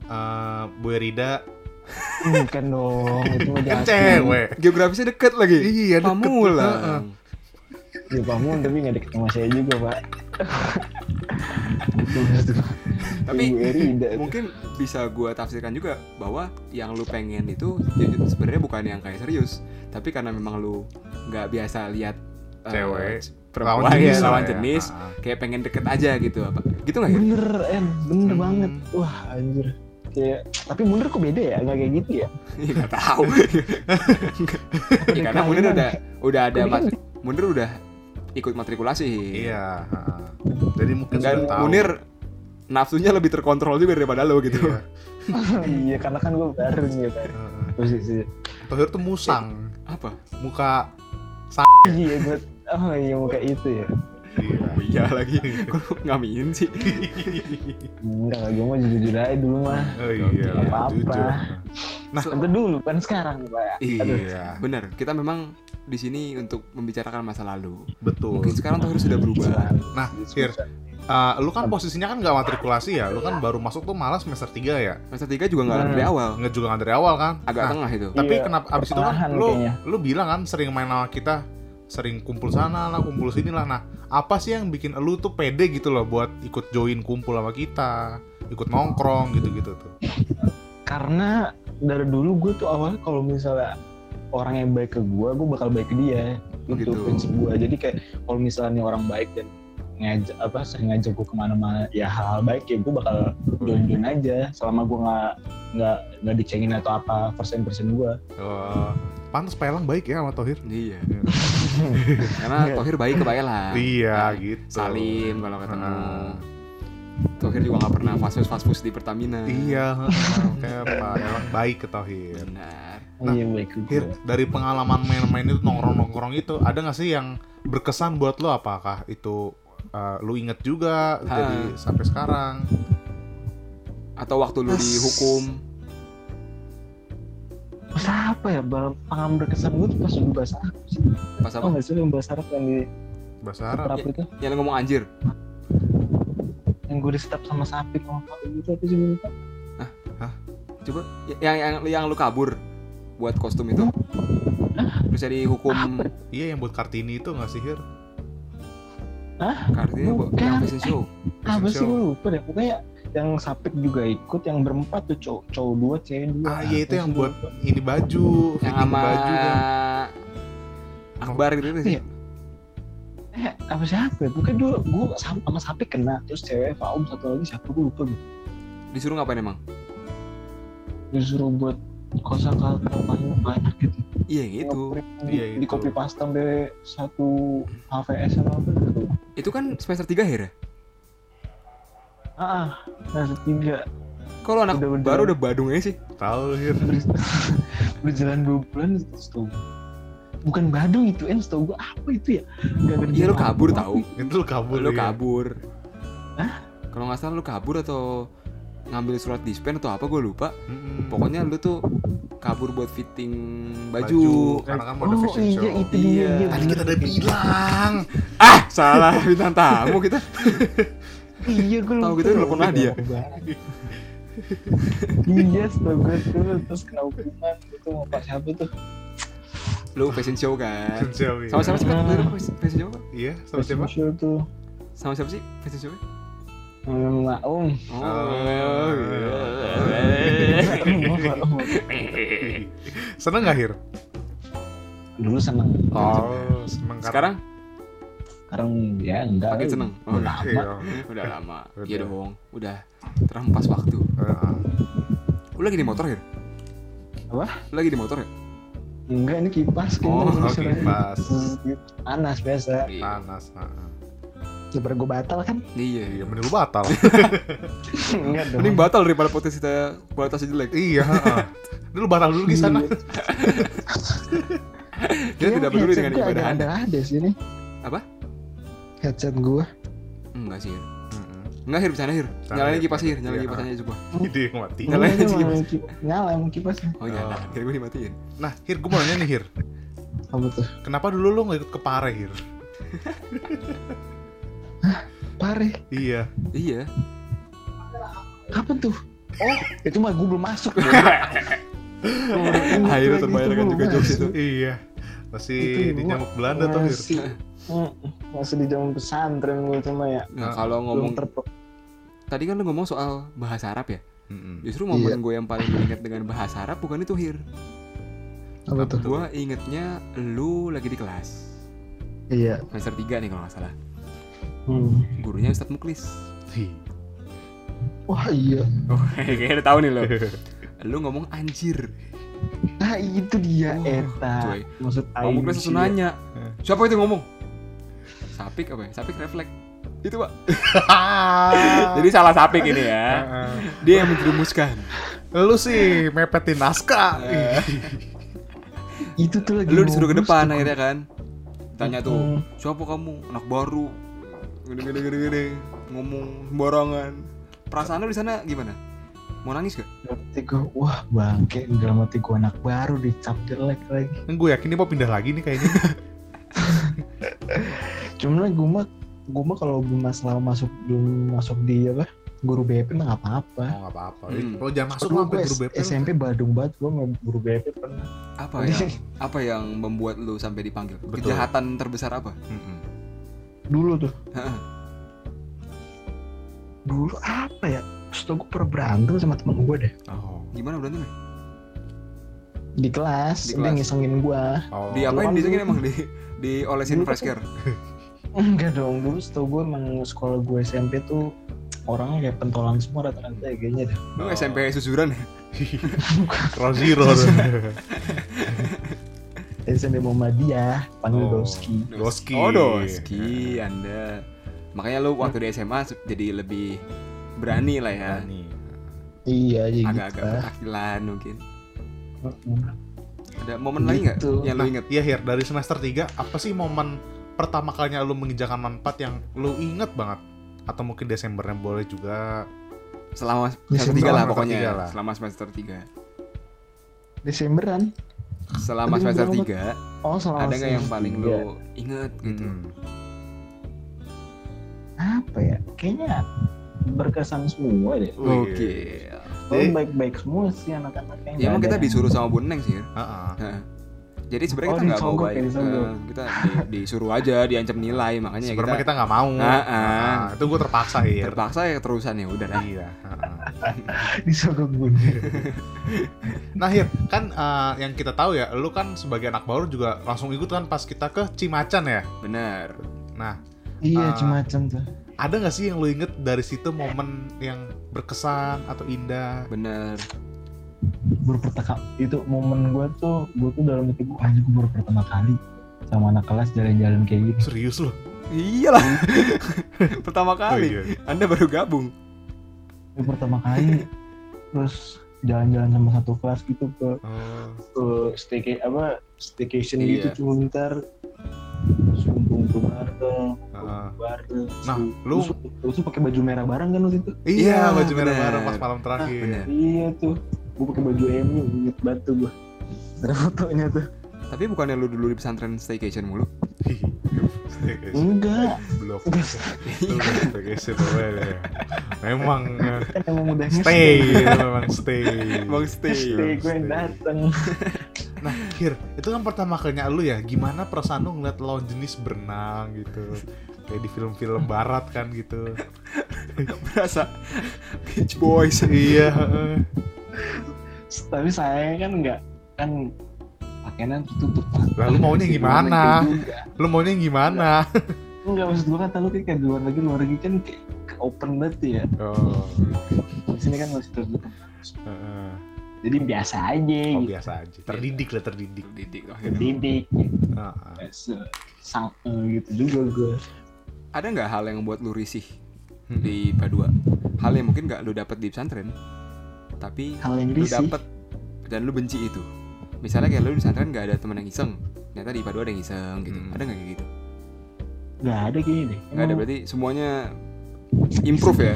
S1: Eh, Bu Rida
S3: bukan dong itu mah
S1: kan
S3: jahat.
S1: cewek
S2: Geografisnya deket lagi.
S1: iya deket. Heeh.
S2: Pamulang.
S3: Ya bangun tapi nggak deket sama saya juga pak. Betul, betul.
S2: Tapi-
S1: Iya,
S3: Ibu Eri tidak.
S2: Mungkin bisa gua tafsirkan juga bahwa yang lu pengen itu ya, sebenarnya bukan yang kayak serius, tapi karena memang lu nggak biasa lihat eh,
S1: Cewek.
S2: c-
S1: Lawan
S2: perempuan ya,
S1: jenis lah
S2: lawan
S1: ya.
S2: jenis,
S1: Heeh.
S2: kayak pengen deket aja gitu apa? Gitu nggak ya?
S3: Bener, En, bener
S1: Hmm.
S3: banget. Wah anjir. Kayak, tapi bener kok beda ya, nggak kayak gitu ya.
S2: Iya nggak tahu. Ya, karena
S3: Kainan.
S2: munir udah udah ada
S3: Kainan.
S2: mat- munir udah ikut matrikulasi.
S1: iya heeh. jadi mungkin sudah
S2: Dan
S1: tahu
S2: munir nafsunya lebih terkontrol juga daripada lo gitu.
S1: Iya.
S3: iya, karena kan gue baru nih ya kan.
S1: Heeh.
S3: Terus sih,
S1: Tohir tuh musang
S2: Apa?
S1: muka
S3: iya gue, oh iya muka itu ya.
S1: iya
S2: Oh iya lagi. Kok ngamin sih?
S3: Enggak, gue mau jujur aja dulu mah.
S1: oh iya
S3: Nggak apa-apa.
S1: jujur. Nah,
S3: Tentu dulu, kan sekarang pak.
S1: iya
S2: Bener, kita memang di sini untuk membicarakan masa lalu.
S1: betul
S2: Mungkin sekarang tuh harus sudah berubah.
S1: nah Hir eh, lu kan posisinya kan nggak matrikulasi ya lu kan baru masuk tuh malah semester 3 ya
S2: Masa tiga juga nggak
S3: Hmm.
S2: dari awal,
S1: nggak juga nggak dari awal kan
S2: agak
S1: Nah,
S2: tengah itu.
S1: tapi
S3: Iya,
S1: kenapa abis itu kan
S3: pertengahan
S1: lu
S3: kayaknya.
S1: lu bilang kan sering main sama kita sering kumpul sana lah kumpul sini lah nah apa sih yang bikin lu tuh pede gitu loh buat ikut join kumpul sama kita ikut nongkrong gitu gitu tuh
S3: karena dari dulu gue tuh awalnya kalau misalnya orang yang baik ke gue gue bakal baik ke dia
S2: Oh,
S3: itu
S2: gitu.
S3: prinsip gue jadi kayak kalau misalnya nih orang baik dan ngajak apa sering ngajak gue kemana-mana ya hal, baik ya gue bakal join join aja selama gue nggak nggak nggak dicengin atau apa persen persen gue
S1: Eh, pantas Pelang baik ya sama Tohir
S2: Iya. Karena Tohir baik ke
S3: Nah,
S2: lah.
S1: iya gitu
S2: Salim kalau ketemu.
S1: Ah.
S2: Tohir juga nggak pernah fast food fast food di Pertamina.
S1: iya heeh, kayak Pak Elang baik ke Tohir
S2: Benar.
S1: Nah,
S3: iya baik ke
S1: Hir,
S3: gue
S1: dari pengalaman main-main itu nongkrong-nongkrong itu ada nggak sih yang berkesan buat lo apakah itu eh, lu inget juga jadi sampai sekarang
S2: Atau waktu lu
S3: As-
S2: dihukum.
S3: Bahasa apa ya bal- pengalaman berkesan gue tuh pas dulu bahasa Arab sih
S2: Pas
S3: tau
S1: Oh.
S2: apa?
S3: nggak sih yang bahasa Arab yang di
S1: bahasa Arab
S3: Arab itu
S2: Yang lu ngomong anjir.
S3: yang gue di step sama sapi kalau itu apa sih gue lupa.
S2: Coba y- Ya, yang yang, yang lu kabur buat kostum itu. Terus jadi hukum
S1: iya yang buat kartini itu nggak sih Hir
S2: kartunya bu-
S3: Bukan.
S2: yang fashion show.
S3: apa sih
S1: Show.
S3: gue lupa deh pokoknya yang sapik juga ikut yang berempat tuh cowok cowok dua cewek dua
S1: ah iya itu
S3: Terus
S1: yang
S3: gua
S1: buat ini baju
S2: Yang
S1: fitting
S2: sama
S1: baju kan
S2: Akbar gitu sih.
S3: Iya. eh apa siapa ya? bukan dulu gue sama, sama sapik kena terus cewek faum satu lagi siapa gue lupa gue
S2: Disuruh ngapain emang?
S3: disuruh buat kosa kata paling banyak gitu
S2: Iya yang itu.
S1: Iya,
S3: di, di
S1: itu.
S3: copy paste sampai satu HVS sama apa gitu
S2: Itu kan semester 3 akhirnya.
S3: ah ah, nah tiga
S2: Kalau anak
S3: Udah-udah.
S2: baru udah badung aja sih.
S1: tahu Hir
S3: Ber- berjalan dua bulan setahu gua. bukan Badung itu en setahu gue apa itu ya Gak ngerti
S2: Iya lu
S3: apa-apa.
S2: kabur tahu.
S1: itu lu kabur
S2: Lu
S1: ya.
S2: kabur. Kalau nggak salah lu kabur atau ngambil surat dispen atau apa gue lupa.
S1: Mm-mm.
S2: Pokoknya lu tuh kabur buat fitting
S1: baju
S2: baju.
S1: karena kan mau ada
S3: oh
S1: fashion
S3: iya
S1: show
S3: itu dia
S2: Iya.
S3: iya,
S1: tadi
S3: bener.
S1: kita udah bilang
S2: Ah, salah bintang tamu kita.
S3: Iya gue
S2: Tahu
S3: lupa.
S2: gitu nelpon Nadia.
S3: Iya setahu gue tuh terus kena hukuman itu mau pas siapa tuh
S2: Lu fashion show kan.
S1: fashion show iya.
S2: Sama siapa sih? Pat? Lu apa Fashion show apa?
S1: iya sama
S3: Pas
S1: siapa
S3: muncul tuh
S2: Sama siapa sih fashion show?
S3: Hmm,
S2: Oh.
S3: Maum
S2: iya.
S1: Oh.
S3: Maum.
S1: seneng nggak Hir
S3: Dulu seneng
S1: oh seneng kan?
S2: Sekarang
S3: sekarang ya enggak
S2: Makin seneng. Oh,
S3: Udah
S1: Iya.
S3: amat.
S2: udah lama.
S1: Udah.
S2: Iya dong. Udah terampas waktu.
S1: Heeh.
S2: Lu lagi di motor ya?
S3: Apa?
S2: Lu lagi di motor ya?
S3: enggak ini kipas kayaknya
S2: Oh,
S1: Oh,
S3: Zzz,
S1: kipas.
S3: gitu. panas biasa
S2: Iya.
S1: Panas. heeh.
S3: lebar gue batal kan
S2: Iya.
S1: Ah, Iya, mending lu batal.
S3: enggak dong
S2: Mending batal daripada potensi kita kualitasnya jelek.
S1: iya, heeh. Lu batal dulu di sana.
S2: Dia
S3: Iya,
S2: tidak peduli
S1: iya,
S2: dengan ibadah
S3: ada,
S2: Anda.
S3: ada ada sini
S2: Apa?
S3: headset gue
S2: Enggak sih. Hir.
S1: Heeh.
S2: Enggak hir bercanda hir.
S1: Bercanda,
S2: Nyalain
S1: Hir.
S2: kipas hir, nyalain
S1: Iya.
S2: kipasannya coba.
S1: Ide yang mati.
S2: Nyalain aja kipas.
S3: nyala emang kipasnya
S2: Oh iya,
S1: Oh.
S2: nah, kira gue dimatiin.
S1: Nah, Hir, gue mau nanya nih, Hir.
S3: apa tuh
S1: Kenapa dulu lu nggak ikut ke Pare, Hir?
S3: pare
S1: Iya.
S2: Iya.
S3: apa tuh oh itu mah gue belum masuk
S2: Akhirnya terbayarkan juga jokes itu.
S1: Iya. Masih
S3: Itu
S1: di
S3: gua
S1: nyamuk Belanda tuh, Hir.
S3: masih, Mm-mm, masih di zaman pesantren gue cuma ya
S1: Nah,
S2: Nah, kalau
S3: belum
S2: ngomong
S3: terpe-
S2: tadi kan lu ngomong soal bahasa Arab ya.
S1: Mm-mm.
S2: Justru
S1: Iya.
S2: momen gue yang paling ingat dengan bahasa Arab bukan itu hir.
S3: apa tuh
S2: Gue ingetnya lu lagi di kelas
S3: iya
S2: semester 3 nih kalau nggak salah.
S3: hmm.
S2: Gurunya Ustadz Muklis.
S1: Hi.
S3: wah iya
S2: Oh, kayaknya udah tahu nih lo. Lu ngomong anjir.
S3: nah itu dia
S2: Wah,
S3: eta
S2: coy.
S3: maksud
S2: Pak Muklis
S3: anjir.
S2: langsung nanya
S1: Eh.
S2: Siapa itu ngomong? Sapik apa ya? Sapik refleks Itu pak Jadi salah sapik ini
S1: Eh.
S2: ya
S1: Heeh.
S2: Dia yang menjerumuskan
S1: Lu sih mepetin naskah.
S2: Eh.
S3: itu tuh lagi
S2: Lu disuruh ke
S3: ngurus
S2: depan
S3: tuh.
S2: akhirnya kan Tanya
S3: Hmm.
S2: tuh Siapa kamu? Anak baru Gede-gede-gede Ngomong sembarangan Perasaan lu di sana gimana? Mau nangis gak?
S3: Berarti gue, wah bangke, dalam hati gue anak baru dicap jelek lagi.
S1: Gue yakin dia mau pindah lagi nih kayaknya.
S3: Cuman gue mah, gue mah kalau belum masalah masuk belum masuk di apa guru BP mah nggak apa-apa.
S1: Oh, nggak apa-apa.
S2: Hmm.
S1: Lo jangan masuk
S3: Aduh,
S1: lo sampai
S3: gua
S1: guru BP.
S3: SMP Badung banget, gue nggak guru BP pernah.
S2: Apa ya? yang apa yang membuat lu sampai dipanggil?
S1: Betul.
S2: Kejahatan terbesar apa?
S1: Mm-mm.
S3: Dulu tuh,
S2: Heeh.
S3: dulu apa ya? Terus gue pernah berantem sama temen gue deh
S1: Oh.
S2: Gimana berantemnya?
S3: di kelas,
S2: Di
S3: dia
S2: kelas.
S3: ngisengin gue.
S1: Oh.
S2: Di
S3: Lu
S2: apa
S3: kan
S2: yang
S3: dulu-
S2: emang di diolesin
S3: Dulu kan-
S2: fresh care?
S3: Enggak dong, dulu setahu gue emang sekolah gue SMP tuh orangnya kayak pentolan semua rata-rata ya kayaknya deh.
S1: Oh.
S2: Lu SMP susuran ya?
S1: Round zero.
S3: SMP Muhammadiyah, panggil
S1: Oh.
S3: Doski.
S1: Doski.
S2: Oh Doski,
S1: Iya.
S2: Anda. Makanya lu waktu di SMA se- jadi lebih berani lah ya.
S1: Berani. ah.
S3: Iya, ya gitu
S2: Agak-agak
S3: lah.
S2: petakilan mungkin.
S3: Mm-mm.
S2: Ada momen lagi nggak
S3: Gitu.
S2: yang lu
S1: Nah,
S2: inget?
S1: iya Hir, dari semester 3 apa sih momen pertama kalinya lu menginjakan manfaat yang lu inget banget? Atau mungkin Desembernya boleh juga.
S2: Selama
S3: Ya,
S2: semester tiga lah
S1: semester
S2: pokoknya.
S1: tiga lah.
S2: Selama semester tiga.
S3: Desemberan.
S2: Selama
S3: Tadi
S2: semester
S3: bilang apa?
S2: tiga,
S3: Oh, selama
S2: ada nggak yang
S3: semester
S2: paling
S3: tiga.
S2: lu inget gitu?
S1: Mm.
S3: apa ya? Kayaknya berkesan semua deh.
S1: Wih.
S2: Oke.
S3: Kalau
S1: Eh.
S3: baik-baik semua sih anak-anaknya.
S2: Ya emang kita disuruh sama Bu Neng sih.
S1: Heeh.
S2: Heeh. Jadi sebenarnya
S3: Oh,
S2: kita nggak mau
S3: disogok ya,
S2: baik.
S3: disogok.
S2: Eh, kita di- disuruh aja, diancam nilai makanya ya
S1: Sebenarnya
S2: kita
S1: kita nggak mau.
S2: Ah, ah.
S1: Nah, itu gue terpaksa Hir.
S2: terpaksa ya terusan ya udah dah.
S1: Iya. heeh.
S3: disogok bun.
S1: Nah Hir, kan eh, yang kita tahu ya, lu kan sebagai anak baru juga langsung ikut kan pas kita ke Cimacan ya.
S2: Bener.
S1: Nah,
S3: iya,
S1: Ah.
S3: cemacam tuh.
S1: ada nggak sih yang lu inget dari situ momen yang berkesan atau indah?
S2: Bener.
S3: Baru pertama itu momen gue tuh, gue tuh dalam hati gue anjir gue baru pertama kali sama anak kelas jalan-jalan kayak gitu. gini.
S1: Serius lu?
S2: Iyalah.
S1: Oh,
S2: Pertama kali.
S1: iya.
S2: Anda baru gabung.
S3: Baru pertama kali terus jalan-jalan sama satu kelas gitu ke
S1: Oh.
S3: ke staycation apa staycation
S2: Iya.
S3: gitu cuma bentar sumpung tuh bareng
S1: Heeh.
S3: bareng
S1: Nah,
S3: Su-
S1: lu-
S3: su- lu tuh pakai baju merah bareng kan waktu itu
S1: Iya,
S2: Iya,
S1: baju merah
S2: bener.
S1: bareng pas malam terakhir.
S2: Bener.
S3: iya tuh gua pakai baju MU inget banget tuh gua ada fotonya tuh
S2: Tapi bukannya lu dulu di pesantren staycation mulu?
S1: Staycation
S3: enggak
S1: blok.
S3: enggak
S1: Staycation boleh deh. Memang eh,
S3: kan emang udah
S1: stay, memang stay.
S2: Bang stay.
S3: stay gue
S1: Stay.
S3: yang dateng
S1: Nah, Hir, itu kan pertama kalinya lu ya, gimana perasaan lu ngeliat lawan jenis berenang gitu? Kayak di film-film barat kan gitu.
S2: Berasa Beach Boys.
S1: iya, heeh.
S3: tapi saya kan enggak kan pakaian tertutup
S1: Lah, lu maunya gimana?
S3: Juga.
S1: Lu maunya gimana?
S3: Enggak maksud gue kata lu kayak kayak di luar negeri luar negeri kan kayak ke open banget tuh ya.
S1: Oh,
S3: Di sini kan masih tertutup.
S1: heeh.
S3: Jadi biasa aja
S1: oh
S3: gitu.
S1: biasa aja. Terdidik lah terdidik.
S2: Didik akhirnya.
S3: Didik gitu.
S1: Heeh.
S3: Biasa. Sang eh, gitu juga gue.
S2: Ada nggak hal yang buat lu risih di Padua? Hal yang mungkin nggak lu dapet di pesantren, tapi
S3: Hal yang
S2: lu
S3: risih.
S2: dapet dan lu benci itu. Misalnya kayak lu di pesantren nggak ada temen yang iseng, ternyata di Padua ada yang iseng gitu.
S1: Hmm.
S2: Ada nggak kayak gitu?
S3: Gak ada kayaknya deh.
S2: Nggak ada
S3: Emang-
S2: berarti semuanya improve ya?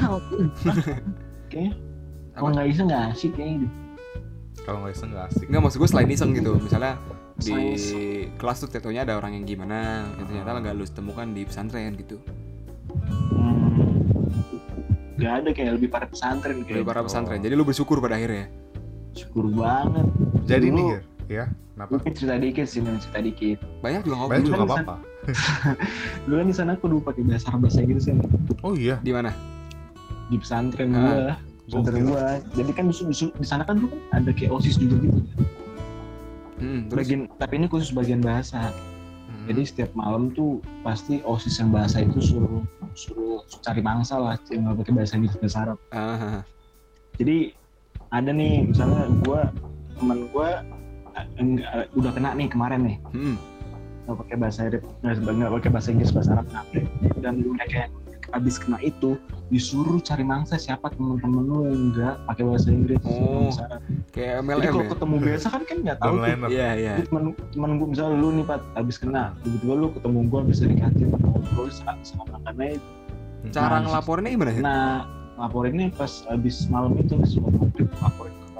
S3: Kayaknya.
S2: Apa?
S3: Kalau Oh, nggak iseng nggak asik kayaknya deh.
S1: Kalau nggak iseng nggak asik.
S2: Nggak maksud gue selain iseng gitu. Misalnya di
S3: Selain iseng.
S2: kelas tuh tentunya ada orang yang gimana, yang ternyata nggak lu temukan di pesantren gitu.
S3: Hmm. Gak ada kayak lebih pada pesantren
S2: Dari
S3: kayak.
S2: para
S1: Oh.
S2: pesantren. Jadi lu bersyukur pada akhirnya.
S3: Syukur banget.
S1: Jadi nih
S3: Dulu-
S1: Gir, ya, kenapa?
S3: Mungkin cerita dikit sih, Nen, cerita dikit.
S2: Banyak juga
S1: Banyak juga
S2: ngobrol
S1: nggak apa-apa.
S3: Dulu kan di sana aku dulu pakai bahasa bahasa Inggris kan
S1: Oh iya,
S2: di mana?
S3: di pesantren
S2: Ah,
S3: gua, pesantren
S1: gokil.
S3: gua. Jadi kan dusun- dusun- di sana kan dulu kan ada kayak osis juga gitu.
S2: Hmm, terus
S3: Bagian tapi ini khusus bagian bahasa.
S1: Hmm.
S3: Jadi setiap malam tuh pasti osis yang bahasa itu suruh suruh cari mangsa lah yang nggak pakai bahasa Inggris bahasa Arab.
S2: Ah,
S3: Jadi ada nih misalnya gua teman gua eh, eh, udah kena nih kemarin nih
S2: hmm,
S3: nggak pakai bahasa Arab nggak nggak pakai bahasa Inggris bahasa Arab nggak pakai. dan mereka yang habis kena itu disuruh cari mangsa siapa temen-temen lu yang nggak pakai bahasa Inggris
S2: Oh,
S3: bahasa Arab.
S2: kayak
S3: jadi
S2: MLM
S3: kalau
S2: ya?
S3: ketemu biasa kan kan nggak tahu tuh.
S1: Downliner.
S2: Iya, iya.
S3: Jadi temen temen gue misalnya lu nih pat habis kena tiba-tiba lu ketemu gue habis dari kantin ngobrol sama sama makannya
S1: Hmm.
S2: Cara ngelaporinnya gimana sih?
S3: nah laporinnya pas habis malam itu nih sebelum maghrib laporin ke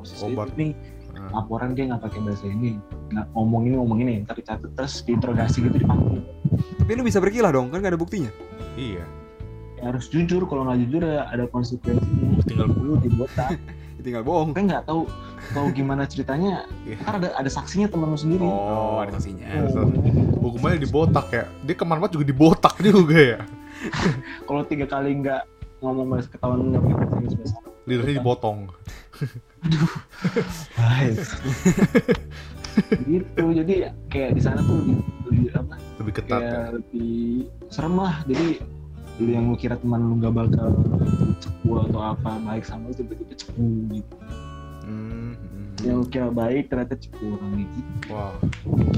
S3: osis itu
S1: Obat.
S3: nih
S1: Heeh.
S3: laporan dia nggak pakai bahasa ini Nah, nggak ngomong ini ngomong ini ntar dicatat terus diinterogasi gitu dipanggil
S2: Tapi lu bisa berkilah dong, kan gak ada buktinya.
S1: Iya,
S3: Ya, harus jujur kalau nggak jujur ya ada konsekuensinya
S1: tinggal
S3: lu dibotak
S2: Tinggal bohong.
S3: kan nggak tahu tahu gimana ceritanya
S1: Iya.
S3: ntar ada ada saksinya teman lu sendiri
S2: Oh, ada saksinya.
S1: Oh. hukumannya dibotak ya. Dia kemarin juga dibotak juga ya.
S3: kalau tiga kali nggak ngomong bahasa ketahuan nggak pakai bahasa Inggris bahasa
S1: Lidernya dibotong.
S3: gitu jadi kayak di sana tuh lebih, lebih apa
S1: Lebih ketat ya.
S3: kayak lebih serem lah jadi lu yang lu kira teman lu nggak bakal cepu atau apa baik sama lu tiba-tiba cepu gitu
S1: Hmm, hmm.
S3: yang lu kira baik ternyata cepu orang gitu
S1: Wah,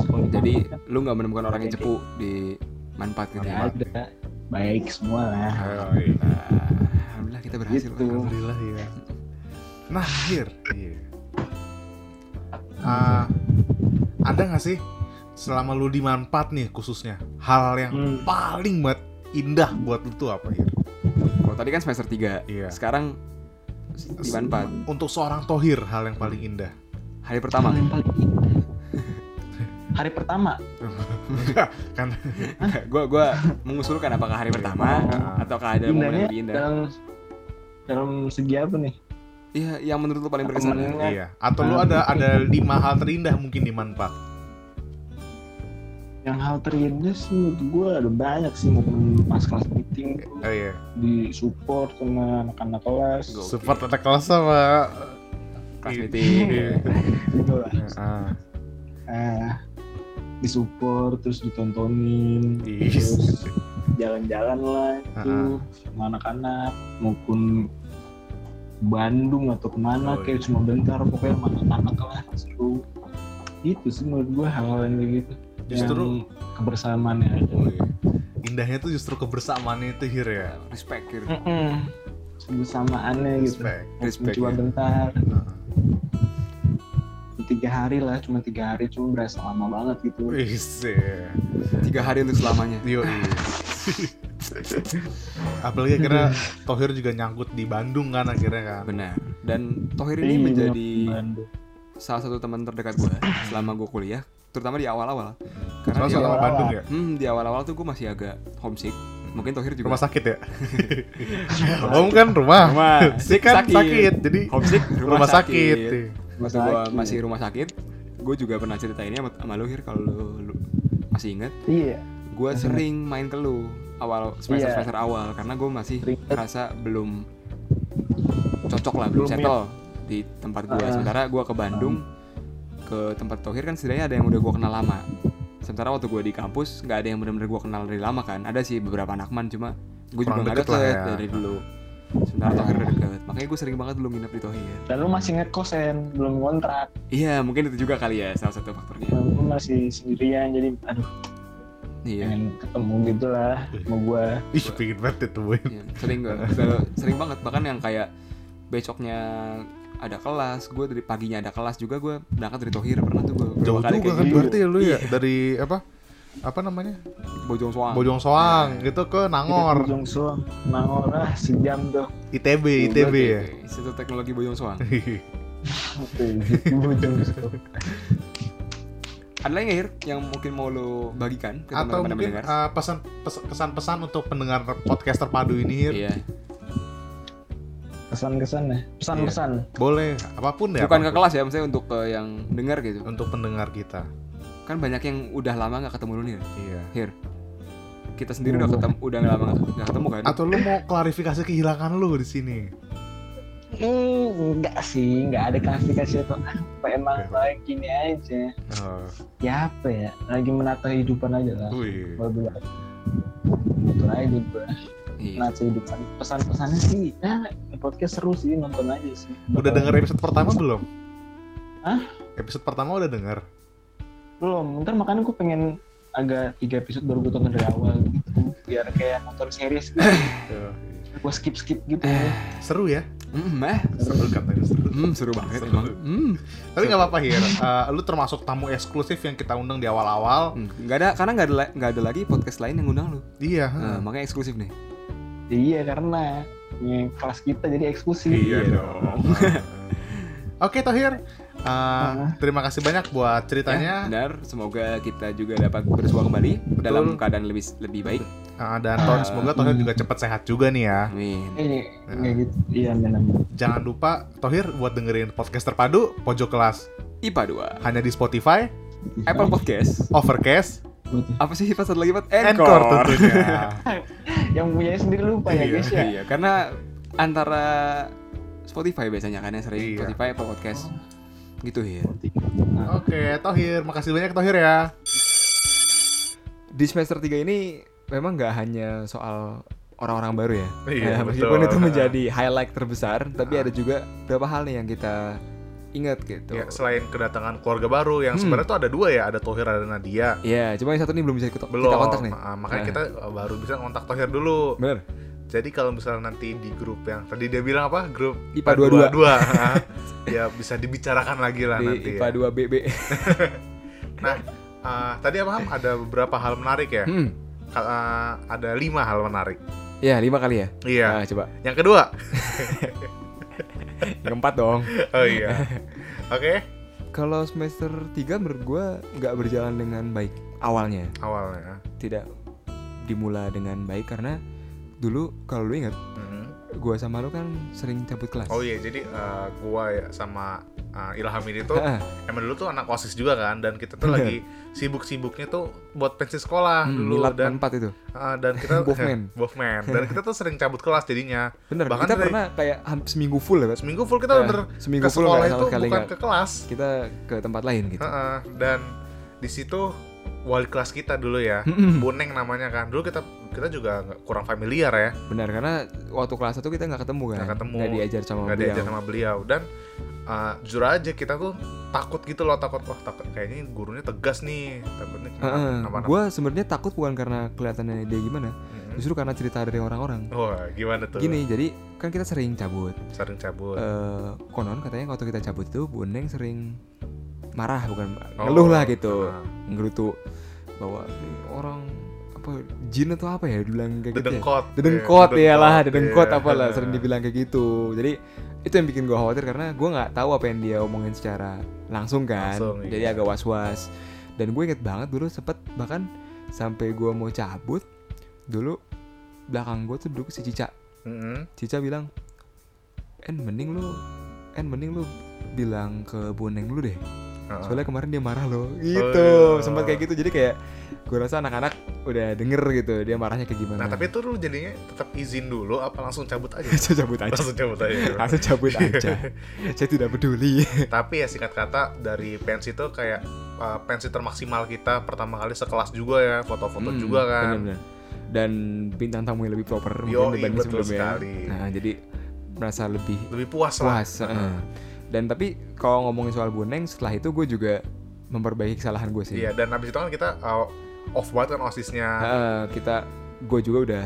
S3: Kalau
S2: Jadi
S3: ditangkap
S2: lu gak menemukan orang yang cepu di manfaat gitu
S3: kan
S2: ya?
S3: nggak ada baik semua lah
S1: ayo, ayo.
S2: Nah, Alhamdulillah kita berhasil.
S3: Gitu.
S1: Alhamdulillah ya. Nah, Gir. Iya. Ah, ada nggak sih selama lu di manfaat nih khususnya hal yang
S3: Hmm.
S1: paling buat indah buat lu tuh apa Gir?
S2: Kalau tadi kan semester 3,
S1: Iya.
S2: sekarang di manfaat.
S1: Untuk seorang Tohir hal yang paling indah.
S2: Hari pertama.
S3: Yang paling indah. hari pertama
S1: kan
S2: Gua gua mengusulkan apakah hari pertama
S1: Ah.
S2: ataukah ada momen
S3: indahnya
S2: yang lebih indah?
S3: dalam dalam segi apa nih
S2: Iya, yang menurut lu paling berkesan.
S3: Temennya.
S1: iya. Atau lu ada ada lima hal terindah mungkin di manfaat.
S3: yang hal terindah sih menurut gue ada banyak sih momen pas kelas meeting
S1: Oh iya.
S3: di support sama anak-anak kelas
S2: Gokil.
S1: Support anak kelas sama
S2: Kelas meeting.
S1: Iya.
S3: gitu lah
S1: Ah,
S3: eh, di support terus ditontonin
S1: Yes.
S3: terus jalan-jalan lah itu sama anak-anak maupun Bandung atau
S1: Oh,
S3: kemana
S1: iya.
S3: kayak cuma bentar pokoknya sama anak-anak lah seru itu sih menurut gue hal-hal yang kayak gitu
S1: Justru
S3: yang kebersamaan ya ada.
S1: Oh, iya. indahnya tuh justru kebersamaannya itu Hir ya.
S2: Respect, Kir.
S3: Mm-mm. kebersamaannya gitu
S1: Respect.
S3: Maupun
S2: Respect,
S3: cuma
S2: ya.
S3: bentar
S1: Ah.
S3: tiga hari lah cuma tiga hari cuma berasa lama banget gitu
S1: Wis, ya.
S2: Tiga hari untuk selamanya.
S1: Yo, iya. Apalagi akhirnya Tohir juga nyangkut di Bandung kan akhirnya kan.
S2: Benar. Dan Tohir ini
S3: Iya,
S2: menjadi
S3: Bandung.
S2: salah satu teman terdekat gue selama gue kuliah, terutama di awal-awal.
S1: Soalnya
S2: Karena di
S1: sama
S2: awal,
S3: awal-awal.
S1: Bandung ya.
S2: hmm, di awal-awal tuh gue masih agak homesick. Mungkin Tohir juga.
S1: Rumah sakit ya. Om kan rumah.
S2: Rumah.
S1: Si kan sakit. Jadi
S2: Homesick
S1: rumah, sakit. iya.
S2: Waktu gue masih rumah sakit, gue juga pernah cerita ini sama, sama lu Hir kalau lu, lu masih ingat.
S3: iya
S2: Gue sering main ke lu awal semester
S3: Iya.
S2: semester awal karena gue masih
S3: Sering.
S2: ngerasa belum cocok lah belum
S3: Belum
S2: settle di tempat gue.
S3: Ah.
S2: Sementara gue ke Bandung ke tempat Tohir kan setidaknya ada yang udah gue kenal lama. sementara waktu gue di kampus nggak ada yang benar-benar gue kenal dari lama kan ada sih beberapa anakman cuma gue juga
S1: Kurang
S2: nggak
S1: deket lah
S2: deket
S1: ya.
S2: dari dulu sementara tuh akhirnya deket makanya gue sering banget dulu nginep di Tohir
S4: Dan lu masih ngekosen, belum kontrak,
S2: iya mungkin itu juga kali ya salah satu faktornya
S4: lu masih sendirian, jadi aduh
S2: iya
S4: pengen ketemu gitu lah sama gua.
S1: Ih, pingin banget ditemuin.
S2: Iya, sering gue se- sering banget bahkan yang kayak besoknya ada kelas gue dari paginya ada kelas juga gue berangkat dari Tohir pernah tuh gue
S1: Jauh juga kan berarti ya lu ya
S2: Iya.
S1: dari apa? Apa namanya?
S2: bojong Iya. soang
S1: Bojong Soang gitu ke Nangor,
S4: Ujung suang, nangor ah sejam tuh.
S2: Iya,
S1: ITB, ITB ya.
S2: Institut Teknologi Bojong Soang
S4: Oke, gitu, Ujung suang.
S2: ada lagi nggak, Hir yang mungkin mau lo bagikan ke
S1: Atau
S2: teman-teman
S1: mungkin
S2: pendengar?
S1: eh, pesan pes- kesan-pesan untuk pendengar podcast terpadu ini Hir.
S2: iya
S4: Kesan-kesan ya, pesan-pesan.
S1: boleh apapun ya.
S2: bukan ke
S1: apapun.
S2: kelas ya maksudnya untuk ke yang dengar gitu
S1: untuk pendengar kita.
S2: kan banyak yang udah lama nggak ketemu lu nih
S1: Iya.
S2: kita sendiri udah ketemu udah lama nggak- nggak ketemu kan
S1: Oh. Atau lu mau klarifikasi kehilangan lu di sini?
S4: Hmm, enggak sih, enggak ada klasifikasi atau apa emang
S1: Oke.
S4: kayak gini aja.
S1: Oh,
S4: Ya apa ya, lagi menata kehidupan aja lah.
S1: wih.
S4: Kalau bilang nonton aja gua
S2: Iya.
S4: menata kehidupan. Pesan-pesannya sih, ya podcast seru sih nonton aja sih.
S1: Udah
S4: Nonton.
S1: denger episode pertama belum?
S4: Hah?
S1: Episode pertama udah denger.
S4: belum ntar makanya gue pengen agak tiga episode baru gue tonton dari awal gitu biar kayak nonton series gitu gue skip skip gitu
S1: Iya. Seru ya?
S2: Mm, eh,
S1: Seru katanya seru.
S2: mm, seru banget
S1: Seru.
S2: emang. Mm,
S1: Tapi nggak apa-apa Hir. Eh, lu termasuk tamu eksklusif yang kita undang di awal-awal.
S2: mm. nggak ada karena nggak ada la- nggak ada lagi podcast lain yang ngundang lu.
S1: Iya.
S2: Nah, makanya eksklusif nih.
S4: iya karena ya, kelas kita jadi eksklusif
S1: Iya dong. Oke Tohir, Eh, terima kasih banyak buat
S2: Ya,
S1: ceritanya
S2: benar. Semoga kita juga dapat bersua kembali dalam keadaan lebih lebih baik.
S1: Eh, dan Tohir
S2: Ah.
S1: semoga Tohir juga cepat sehat juga nih ya.
S2: Amin.
S4: ini kayak gitu iya benar
S1: Jangan lupa Tohir buat dengerin podcast terpadu Pojok Kelas
S2: IPA
S1: hanya di Spotify, Eh,
S2: 2, Apple Podcast.
S1: Overcast,
S2: Apa sih pas satu lagi buat
S1: Anchor
S2: Anchor?
S1: tentunya.
S4: yang punya sendiri lupa ya
S1: Iya,
S4: guys ya
S2: Iya, karena antara Spotify biasanya kan yang sering
S1: Iya.
S2: Spotify Apple Podcast. Gitu ya.
S1: Oke, Tohir, makasih banyak Tohir ya.
S2: Di semester 3 ini memang nggak hanya soal orang-orang baru ya.
S1: Iya,
S2: Ya, meskipun
S1: betul.
S2: itu menjadi highlight terbesar, tapi ada juga beberapa hal nih yang kita ingat gitu.
S1: Ya, selain kedatangan keluarga baru yang
S2: Hmm.
S1: sebenarnya tuh ada dua ya, ada Tohir ada Nadia.
S2: Iya, cuma yang satu ini belum bisa kita,
S1: Belum,
S2: kita kontak nih.
S1: ah, makanya
S2: Nah.
S1: kita eh, baru bisa kontak Tohir dulu.
S2: Bener.
S1: Jadi kalau misalnya nanti di grup yang tadi dia bilang apa? Grup
S2: IPA 22.
S1: 22. ya bisa dibicarakan lagi lah
S2: Di
S1: nanti.
S2: IPA
S1: Ya.
S2: 2 BB.
S1: Nah, eh, tadi apa Ham? ada beberapa hal menarik ya.
S2: Hmm.
S1: Ka- eh, ada lima hal menarik.
S2: Ya, lima kali ya.
S1: Iya.
S2: Nah, coba.
S1: Yang kedua.
S2: Yang keempat dong.
S1: Oh iya. Oke,
S2: Kalau semester 3 menurut gua nggak berjalan dengan baik awalnya.
S1: awalnya.
S2: Tidak dimulai dengan baik karena dulu kalau lu ingat
S1: Mhm.
S2: gua sama lu kan sering cabut kelas.
S1: Oh iya, jadi eh, gua ya sama eh, Ilham ini tuh
S2: Heeh.
S1: emang dulu tuh anak osis juga kan dan kita tuh
S2: Bener.
S1: lagi sibuk-sibuknya tuh buat pensi sekolah
S2: Hmm,
S1: Ah, dulu
S2: Milad
S1: dan
S2: dan 4 itu.
S1: ah, dan kita
S2: Wolfman.
S1: Wolfman. dan kita tuh sering cabut kelas jadinya
S2: Bener,
S1: Bahkan
S2: kita
S1: dari-
S2: pernah kayak hamp- seminggu full ya, Pak?
S1: seminggu full kita
S2: Ya,
S1: bener
S2: seminggu
S1: ke
S2: full nggak
S1: sekolah
S2: sama
S1: itu
S2: sekali
S1: bukan
S2: nggak.
S1: ke kelas
S2: Kita ke tempat lain gitu.
S1: Heeh, dan di situ wali kelas kita dulu ya
S2: Mm-mm.
S1: Boneng namanya kan dulu kita kita juga nggak- kurang familiar ya
S2: Benar karena waktu kelas satu kita nggak ketemu kan.
S1: Nggak ketemu.
S2: Nggak diajar sama
S1: nggak
S2: beliau.
S1: diajar sama beliau dan ah, jujur aja kita tuh takut gitu loh takut wah takut kayaknya gurunya tegas nih takutnya
S2: Heeh.
S1: kenapa-napa.
S2: Gua sebenarnya takut bukan karena kelihatannya dia gimana,
S1: Mm-mm.
S2: justru karena cerita dari
S1: Hmm.
S2: orang-orang.
S1: Wah, gimana tuh?
S2: Gini, jadi kan kita sering cabut.
S1: sering cabut.
S2: Eh, konon katanya waktu kita cabut itu Bu Neng sering marah bukan
S1: Oh,
S2: ngeluh lah gitu,
S1: nah.
S2: ngerutu bahwa "Ini orang apa jin atau apa ya dibilang kayak gitu. ya.
S1: Dedengkot.
S2: dedengkot ya lah dedengkot
S1: iya.
S2: apalah sering dibilang kayak gitu jadi itu yang bikin gue khawatir karena gue nggak tahu apa yang dia omongin secara langsung kan
S1: Langsung, iya.
S2: jadi agak was was dan gue inget banget dulu sempet bahkan sampai gue mau cabut dulu belakang gue tuh duduk si Cica
S1: Mm-mm.
S2: Cica bilang En mending lu En mending lu bilang ke Boneng lu deh
S1: Heeh.
S2: soalnya kemarin dia marah loh
S1: iya.
S2: gitu sempat kayak gitu jadi kayak gue rasa anak-anak udah denger gitu dia marahnya kayak gimana
S1: Nah, tapi itu lu jadinya tetap izin dulu apa langsung cabut aja?
S2: Saya cabut aja.
S1: langsung cabut aja.
S2: Langsung cabut aja. Saya tidak peduli.
S1: Tapi ya singkat kata dari pensi itu kayak uh, pensi termaksimal kita pertama kali sekelas juga ya foto-foto
S2: Hmm,
S1: juga kan
S2: bener-bener. Dan bintang tamu yang lebih proper
S1: Yoi,
S2: dibanding
S1: betul
S2: sebelumnya.
S1: sekali.
S2: Nah, jadi merasa lebih
S1: lebih puas lah
S2: puas. eh. Dan tapi kalau ngomongin soal Boneng, setelah itu gue juga memperbaiki kesalahan gue sih.
S1: iya dan abis itu kan kita uh, off banget kan osisnya
S2: Eh, kita, gue juga udah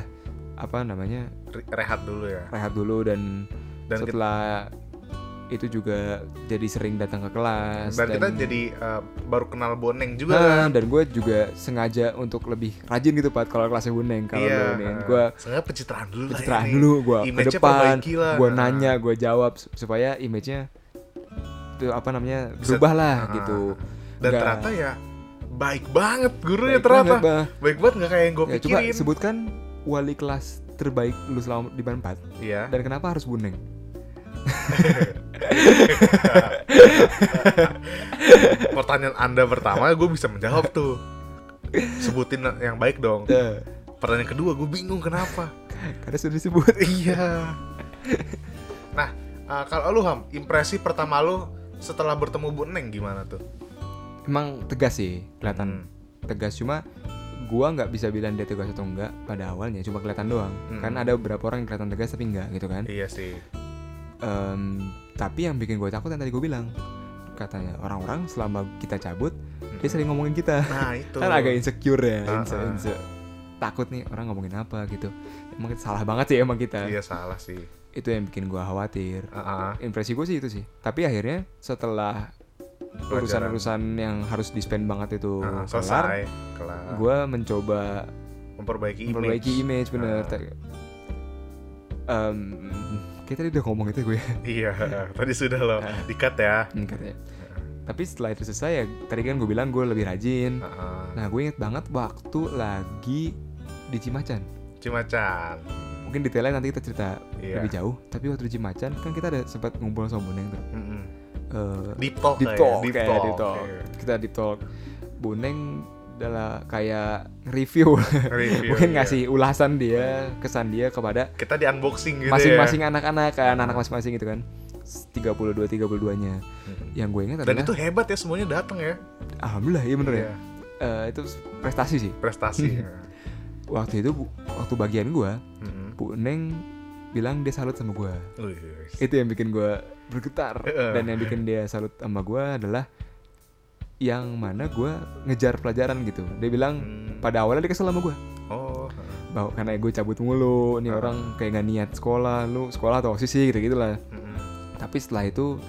S2: apa namanya
S1: re- rehat dulu ya
S2: rehat dulu dan,
S1: Dan kita-
S2: setelah itu juga jadi sering datang ke kelas.
S1: dan kita jadi uh, baru kenal boneng juga
S2: Nah,
S1: kan
S2: dan gue juga sengaja untuk lebih rajin gitu Pat kalau kelasnya Boneng kalau
S1: iya
S2: lu nih. Gue
S1: sengaja pencitraan dulu lah
S2: pencitraan
S1: ini.
S2: dulu gue ke
S1: Image-nya
S2: depan
S1: perbaiki lah.
S2: gue
S1: Nah.
S2: nanya gue jawab sup- supaya image-nya itu apa namanya
S1: Bisa-
S2: berubah lah
S1: Nah.
S2: gitu
S1: dan
S2: Nggak-
S1: ternyata ya baik banget gurunya
S2: Baik
S1: ternyata
S2: banget, Bah.
S1: baik banget nggak kayak yang gue
S2: Ya, coba
S1: pikirin
S2: sebutkan wali kelas terbaik lu selama di Ban 4
S1: iya
S2: dan kenapa harus buneng
S1: pertanyaan anda pertama gue bisa menjawab tuh sebutin yang baik dong
S2: Ya.
S1: pertanyaan kedua gue bingung kenapa
S2: karena sudah disebut
S1: iya nah eh, kalau lu ham impresi pertama lu setelah bertemu Bu Neng gimana tuh
S2: emang tegas sih kelihatan
S1: Hmm.
S2: tegas cuma gua nggak bisa bilang dia tegas atau enggak pada awalnya cuma kelihatan doang
S1: Hmm.
S2: kan ada beberapa orang yang kelihatan tegas tapi enggak gitu kan
S1: iya sih
S2: Em, tapi yang bikin gue takut yang tadi gue bilang katanya orang-orang selama kita cabut dia sering ngomongin kita
S1: nah itu
S2: kan agak insecure ya
S1: Hmm. Ah,
S2: inse-
S1: ah.
S2: inse- takut nih orang ngomongin apa gitu emang kita- salah banget sih emang kita
S1: iya salah sih
S2: itu yang bikin gue khawatir
S1: Ah, ah.
S2: impresi gue sih itu sih tapi akhirnya setelah
S1: Pelajaran.
S2: urusan-urusan yang harus di spend banget itu
S1: Ah,
S2: kelar
S1: selesai kelar
S2: gue mencoba
S1: memperbaiki Ah. image
S2: memperbaiki image
S1: Ah.
S2: bener Te- Em, kita tadi udah ngomong itu gue
S1: iya tadi sudah lo dikat ya
S2: Hmm, katanya. Tapi setelah itu selesai ya, tadi kan gue bilang gue lebih rajin.
S1: Ah, ah.
S2: Nah gue inget banget waktu lagi di Cimacan.
S1: Cimacan
S2: Mungkin detailnya nanti kita cerita
S1: Iya.
S2: lebih jauh. Tapi waktu di Cimacan kan kita ada sempat ngumpul sama Boneng tuh.
S1: Mm-mm.
S2: Eh,
S1: deep talk
S2: deep
S1: lah ya,
S2: talk,
S1: deep
S2: kayak
S1: talk,
S2: deep talk.
S1: iya.
S2: Kita deep talk. Boneng adalah kayak review.
S1: Review,
S2: Mungkin
S1: iya.
S2: ngasih ulasan dia, kesan dia kepada
S1: kita di unboxing gitu
S2: masing-masing
S1: ya
S2: anak-anak kan, anak masing-masing gitu kan. 32 32-nya. Yang gue ingat
S1: Hmm. dan
S2: adalah
S1: itu hebat Iya, ya semuanya datang ya
S2: alhamdulillah iya bener
S1: Iya.
S2: ya. Eh, itu prestasi sih.
S1: prestasi ya.
S2: Waktu itu bu- waktu bagian gua,
S1: Mm-mm.
S2: Bu Neng bilang dia salut sama gua.
S1: Hmm. Wih,
S2: Itu yang bikin gua bergetar
S1: Heeh.
S2: dan yang bikin dia salut sama gua adalah yang mana gua ngejar pelajaran gitu. Dia bilang
S1: Hmm.
S2: pada awalnya dia kesel sama gua.
S1: oh
S2: Bahwa karena gue cabut mulu, ini orang kayak gak niat sekolah, lu sekolah atau OSIS sih gitu-gitu lah.
S1: mm-mm.
S2: Tapi setelah itu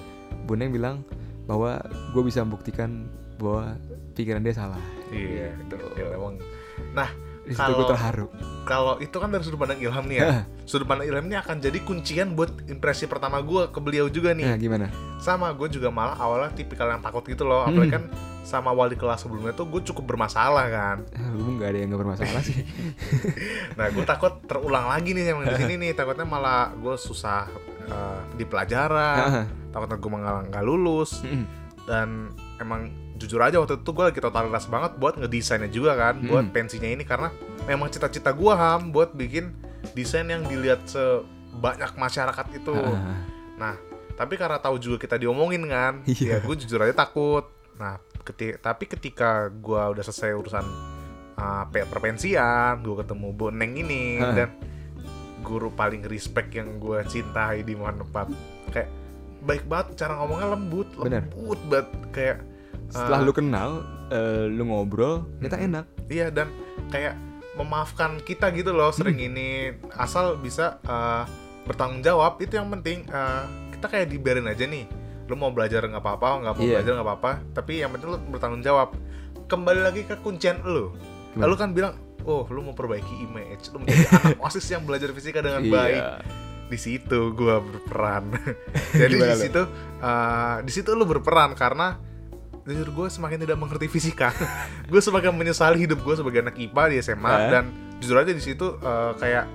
S2: Bu Neng bilang bahwa gue bisa membuktikan bahwa pikiran dia salah.
S1: iya
S2: Gitu.
S1: gila, emang nah
S2: Di situ gue
S1: Kalau-
S2: terharu.
S1: kalau itu kan dari sudut pandang Ilham nih ya sudut pandang Ilham ini akan jadi kuncian buat impresi pertama gue ke beliau juga nih
S2: Nah, gimana?
S1: sama gue juga malah awalnya tipikal yang takut gitu loh apalagi kan sama wali kelas sebelumnya tuh gue cukup bermasalah kan
S2: Ah, Lu nggak ada yang nggak bermasalah sih.
S1: nah gue takut terulang lagi nih yang di sini nih takutnya malah gue susah eh, di pelajaran
S2: Heeh.
S1: takutnya gue malah nggak lulus
S2: Ah, Mm-mm.
S1: dan emang jujur aja waktu itu gue lagi totalitas banget buat ngedesainnya juga kan buat
S2: Mm.
S1: pensinya ini karena memang cita-cita gue ham buat bikin desain yang dilihat sebanyak masyarakat itu
S2: Ah,
S1: Nah, tapi karena tahu juga kita diomongin kan, ya
S2: Iya.
S1: gue jujur aja takut. Nah, keti- tapi ketika gue udah selesai urusan uh, pe- perpensian, gue ketemu Bu Neng ini
S2: Hah.
S1: dan guru paling respect yang gue cintai di mana tempat. Kayak baik banget cara ngomongnya lembut,
S2: Bener.
S1: lembut banget kayak
S2: Setelah
S1: uh,
S2: lu kenal, eh, lu ngobrol, kita
S1: Mm-mm.
S2: enak.
S1: Iya dan kayak memaafkan kita gitu loh sering
S2: Hmm.
S1: ini asal bisa eh, bertanggung jawab itu yang penting eh, kita kayak diberin aja nih lu mau belajar nggak apa-apa nggak mau
S2: Iya.
S1: belajar nggak apa-apa tapi yang penting lu bertanggung jawab kembali lagi ke kuncian lu
S2: Gimana?
S1: lu kan bilang oh lu mau perbaiki image lu menjadi anak osis yang belajar fisika dengan
S2: Iya.
S1: baik di situ gua berperan jadi
S2: Gimana
S1: di
S2: lu?
S1: situ eh, di situ lu berperan karena jujur gue semakin tidak mengerti fisika gue semakin menyesali hidup gue sebagai anak IPA di SMA
S2: Eh?
S1: dan jujur aja di situ eh, kayak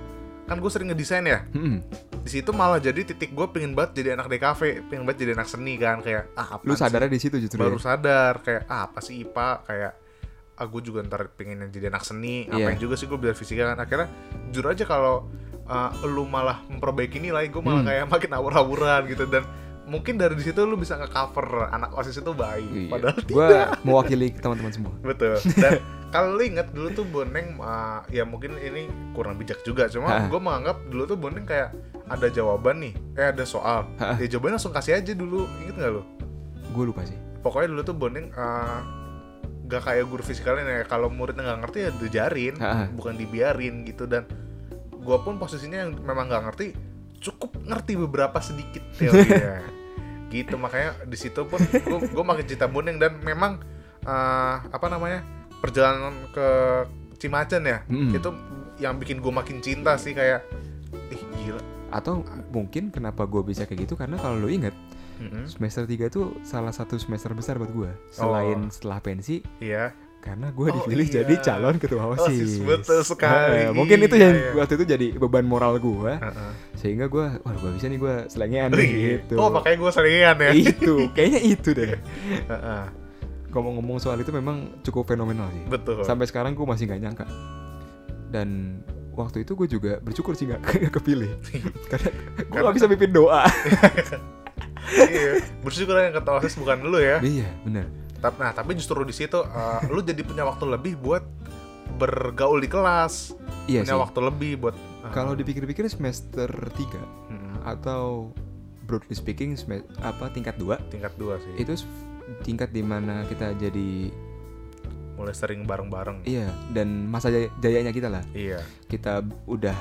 S1: kan gue sering ngedesain ya
S2: Mm-mm.
S1: di situ malah jadi titik gue pengen banget jadi anak DKV pengen banget jadi anak seni kan kayak ah apaan
S2: Lu
S1: sih?
S2: sadarnya di situ justru.
S1: baru
S2: ya?
S1: sadar kayak ah, apa sih IPA kayak ah gue juga ntar pengen jadi anak seni
S2: Iya.
S1: ngapain juga sih gue belajar fisika kan akhirnya jujur aja kalau uh, lu malah memperbaiki nilai gue malah
S2: Hmm.
S1: kayak makin awur-awuran gitu dan mungkin dari situ lu bisa nge-cover anak OSIS itu baik. Padahal
S2: gue Iya. mewakili teman-teman semua.
S1: Betul. Dan kalau lu inget dulu tuh Boneng uh, ya mungkin ini kurang bijak juga cuma
S2: Ha.
S1: gue menganggap dulu tuh Boneng kayak ada jawaban nih, eh ada soal.
S2: Ha.
S1: Ya jawabannya langsung kasih aja dulu. Ingat nggak lu?
S2: Gue lupa sih.
S1: Pokoknya dulu tuh Boneng uh, gak kayak guru fisika lain ya kalau muridnya nggak ngerti ya diajarin,
S2: Ha.
S1: bukan dibiarin gitu dan gue pun posisinya yang memang nggak ngerti cukup ngerti beberapa sedikit teorinya. gitu makanya di situ pun gue makin cinta Boneng dan memang eh, apa namanya perjalanan ke Cimacan ya
S2: Mm-mm.
S1: itu yang bikin gue makin cinta sih kayak ih gila
S2: Atau mungkin kenapa gue bisa kayak gitu karena kalau lu inget
S1: Hmm. Mm-mm.
S2: semester 3 tuh salah satu semester besar buat gue
S1: Oh.
S2: selain setelah pensi
S1: iya
S2: karena gue
S1: Oh,
S2: dipilih
S1: iya.
S2: jadi calon ketua
S1: OSIS,
S2: osis.
S1: betul sekali.
S2: Eh, mungkin itu yang
S1: Iya, iya.
S2: waktu itu jadi beban moral gue
S1: Heeh.
S2: sehingga gue wah gue bisa nih gue selengean nih, gitu. Iya.
S1: oh makanya gue seringan ya
S2: itu kayaknya itu deh.
S1: Heeh.
S2: Ngomong-ngomong soal itu memang cukup fenomenal sih.
S1: betul
S2: Sampai sekarang gue masih nggak nyangka. Dan waktu itu gue juga bersyukur sih nggak nggak kepilih karena gue nggak bisa pimpin doa.
S1: iya. bersyukur yang kata OSIS bukan lu ya
S2: iya benar.
S1: Ta- nah tapi justru di situ eh, lu jadi punya waktu lebih buat bergaul di kelas
S2: Iya
S1: punya
S2: sih.
S1: waktu lebih buat eh, hmm,
S2: Kalau dipikir-pikir semester 3
S1: mm-mm,
S2: atau broadly speaking sme- apa tingkat 2
S1: tingkat dua sih
S2: itu s- tingkat dimana kita jadi
S1: mulai sering bareng-bareng
S2: iya dan masa jaya- jayanya kita lah
S1: iya
S2: kita udah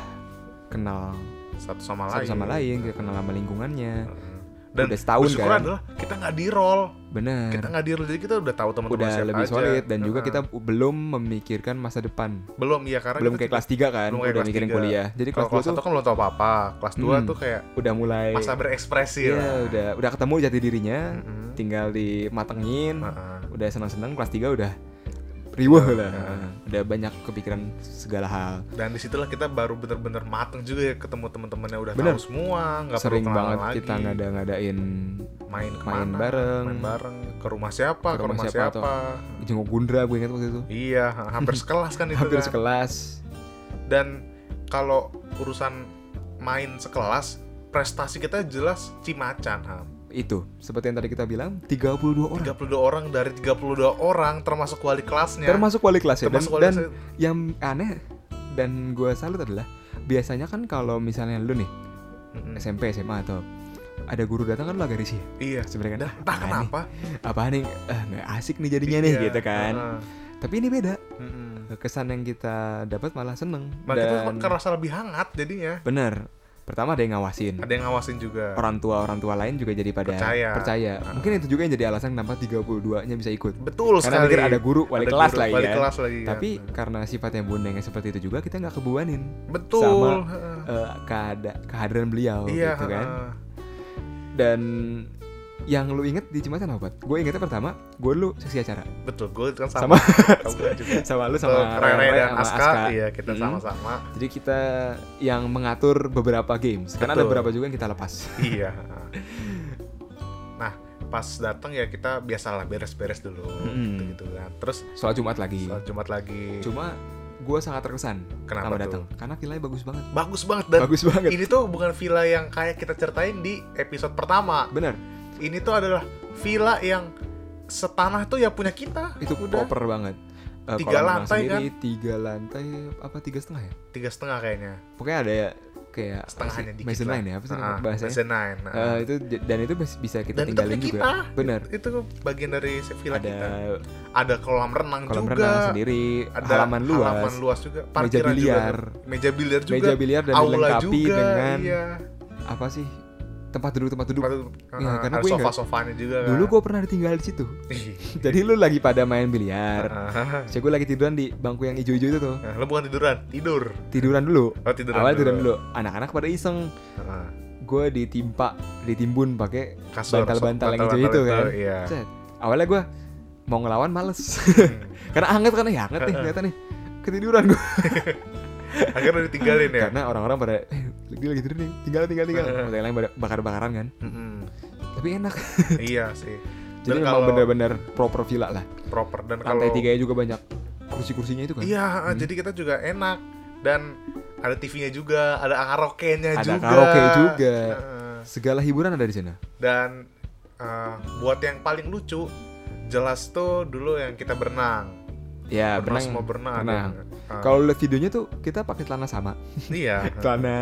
S2: kenal
S1: satu sama
S2: satu
S1: lain
S2: sama lain kita kenal sama lingkungannya
S1: Heeh. dan
S2: Udah setahun
S1: bersyukur
S2: kan?
S1: adalah kita nggak di roll kita
S2: bener
S1: nggak di roll jadi kita udah tahu teman-teman
S2: udah
S1: siapa
S2: lebih
S1: aja.
S2: solid dan juga
S1: Heeh.
S2: kita belum memikirkan masa depan
S1: belum ya karena
S2: belum
S1: kita
S2: kayak
S1: juga- belum
S2: kelas 3 kan
S1: kayak
S2: udah
S1: kelas
S2: mikirin
S1: tiga.
S2: kuliah jadi
S1: kalau
S2: kelas
S1: kelas
S2: 2
S1: satu
S2: tuh
S1: kan belum tau apa-apa kelas 2
S2: Hmm.
S1: tuh kayak
S2: udah mulai
S1: masa berekspresi
S2: iya
S1: lah
S2: udah udah ketemu jati dirinya
S1: Mm-mm.
S2: tinggal dimatengin
S1: Heeh.
S2: udah senang-senang kelas 3 udah riweh lah
S1: Heeh.
S2: udah banyak kepikiran segala hal
S1: dan disitulah kita baru bener-bener mateng juga ya ketemu teman-teman yang udah tahu
S2: Bener.
S1: semua nggak perlu
S2: sering
S1: kenalan
S2: banget
S1: lagi.
S2: kita ngada-ngadain
S1: main kemana
S2: main bareng.
S1: main bareng ke rumah siapa ke rumah, siapa,
S2: atau- jenguk Gundra gue ingat waktu itu
S1: iya ha- hampir sekelas kan itu
S2: hampir
S1: kan.
S2: sekelas
S1: dan kalau urusan main sekelas prestasi kita jelas cimacan ham
S2: itu seperti yang tadi kita bilang 32 orang
S1: 32 orang dari 32 orang termasuk wali kelasnya
S2: termasuk wali kelas ya dan,
S1: termasuk wali
S2: dan
S1: kelasnya.
S2: yang aneh dan gue salut adalah biasanya kan kalau misalnya lu nih
S1: Mm-mm.
S2: SMP SMA atau ada guru datang kan lu agak risih
S1: iya
S2: sebenarnya kan
S1: dah entah
S2: apaan nih
S1: kenapa
S2: apaan nih Eh, nggak asik nih jadinya nih
S1: Iya,
S2: gitu kan
S1: heeh.
S2: tapi ini beda
S1: Mm-mm.
S2: kesan yang kita dapat malah seneng
S1: Malah kita
S2: dan
S1: kerasa lebih hangat jadinya
S2: bener pertama ada yang ngawasin
S1: ada yang ngawasin juga
S2: orang tua orang tua lain juga jadi pada
S1: Kan. Percaya. Ah.
S2: Mungkin itu juga yang jadi alasan kenapa 32 nya bisa ikut.
S1: betul
S2: karena
S1: sekali
S2: mikir ada guru wali
S1: Ada
S2: kelas
S1: guru
S2: lah ya.
S1: wali kelas lagi kan.
S2: Tapi karena sifatnya bundeng yang seperti itu juga kita nggak kebuanin
S1: betul
S2: sama
S1: heeh.
S2: eh, keada- kehadiran beliau
S1: iya
S2: gitu kan.
S1: heeh.
S2: Dan yang lu inget di Cimacan apa? Pat? Gue ingetnya pertama, gue lu seksi acara
S1: betul gue kan sama,
S2: sama
S1: Kamu juga
S2: sama lu
S1: Betul,
S2: sama
S1: Rere dan
S2: sama
S1: Aska, iya kita
S2: Mm.
S1: sama-sama
S2: Jadi kita yang mengatur beberapa games karena ada
S1: Betul.
S2: beberapa juga yang kita lepas.
S1: iya nah pas datang ya kita biasalah beres-beres dulu
S2: Mm.
S1: gitu gitu kan terus
S2: Soal Jumat lagi.
S1: soal Jumat lagi
S2: Cuma gue sangat terkesan
S1: kenapa
S2: sama
S1: datang
S2: datang karena nilai bagus banget.
S1: bagus banget dan
S2: bagus banget.
S1: ini tuh bukan villa yang kayak kita ceritain di episode pertama
S2: Bener,
S1: ini tuh adalah villa yang setanah tuh ya punya kita
S2: itu
S1: udah
S2: proper banget. Eh,
S1: Tiga
S2: kolam renang
S1: lantai, kan?
S2: sendiri, tiga lantai apa tiga setengah ya?
S1: tiga setengah kayaknya
S2: Pokoknya ada ya, kayak apa
S1: setengahnya
S2: sih,
S1: dikit
S2: mezzanine
S1: lah.
S2: ya apa sih
S1: Ah,
S2: bahasanya?
S1: mezzanine, ah.
S2: Eh, itu j- dan itu bis- bisa kita
S1: dan itu
S2: tinggalin
S1: punya
S2: juga.
S1: kita
S2: Bener.
S1: itu bagian dari villa
S2: Ada
S1: kita ada kolam renang
S2: kolam
S1: juga
S2: renang sendiri,
S1: ada
S2: halaman luas,
S1: halaman luas juga
S2: meja
S1: parkiran
S2: biliar,
S1: juga meja biliar juga
S2: meja biliar dan
S1: aula
S2: dilengkapi
S1: juga
S2: dengan
S1: iya
S2: apa sih? Tempat duduk tempat duduk.
S1: Tempat itu,
S2: Iya,
S1: uh,
S2: karena
S1: ada
S2: gue
S1: sofa
S2: ingat-
S1: sofanya juga kan. iya.
S2: Dulu gue pernah ditinggal di situ. Jadi lu lagi pada main biliar.
S1: Ah.
S2: Saya gue lagi tiduran di bangku yang ijo-ijo itu tuh.
S1: Nah, lo bukan tiduran tidur
S2: Tiduran dulu.
S1: oh tiduran
S2: Awalnya tiduran dulu. Anak-anak pada iseng.
S1: Heeh.
S2: Gue ditimpa, ditimbun pakai
S1: kasur
S2: Bantal-bantal yang
S1: bantal-bantal
S2: hijau itu kan.
S1: iya
S2: Set. Awalnya gue mau ngelawan males
S1: Hmm.
S2: Karena anget kan ya anget nih ternyata nih Ketiduran gue
S1: akhirnya ditinggalin ya
S2: Karena orang-orang pada eh, Dia lagi tidur nih Tinggal tinggal tinggal Ada yang lain pada bakar-bakaran kan
S1: Mm-mm.
S2: Tapi enak
S1: iya sih
S2: Jadi
S1: Dan
S2: memang
S1: kalau-
S2: bener-bener proper villa lah
S1: proper dan kalau
S2: Lantai tiga juga banyak Kursi-kursinya itu kan
S1: iya jadi kita juga enak dan ada TV-nya juga ada karaoke-nya
S2: Ada
S1: juga
S2: karaoke juga.
S1: Heeh.
S2: Segala hiburan ada di sana.
S1: Dan eh, buat yang paling lucu, jelas tuh dulu yang kita berenang. berenang,
S2: Ya, berenang.
S1: semua berenang. ada
S2: Berenang.
S1: yang, eh,
S2: Kalau lihat videonya tuh kita pakai celana sama.
S1: iya,
S2: Celana.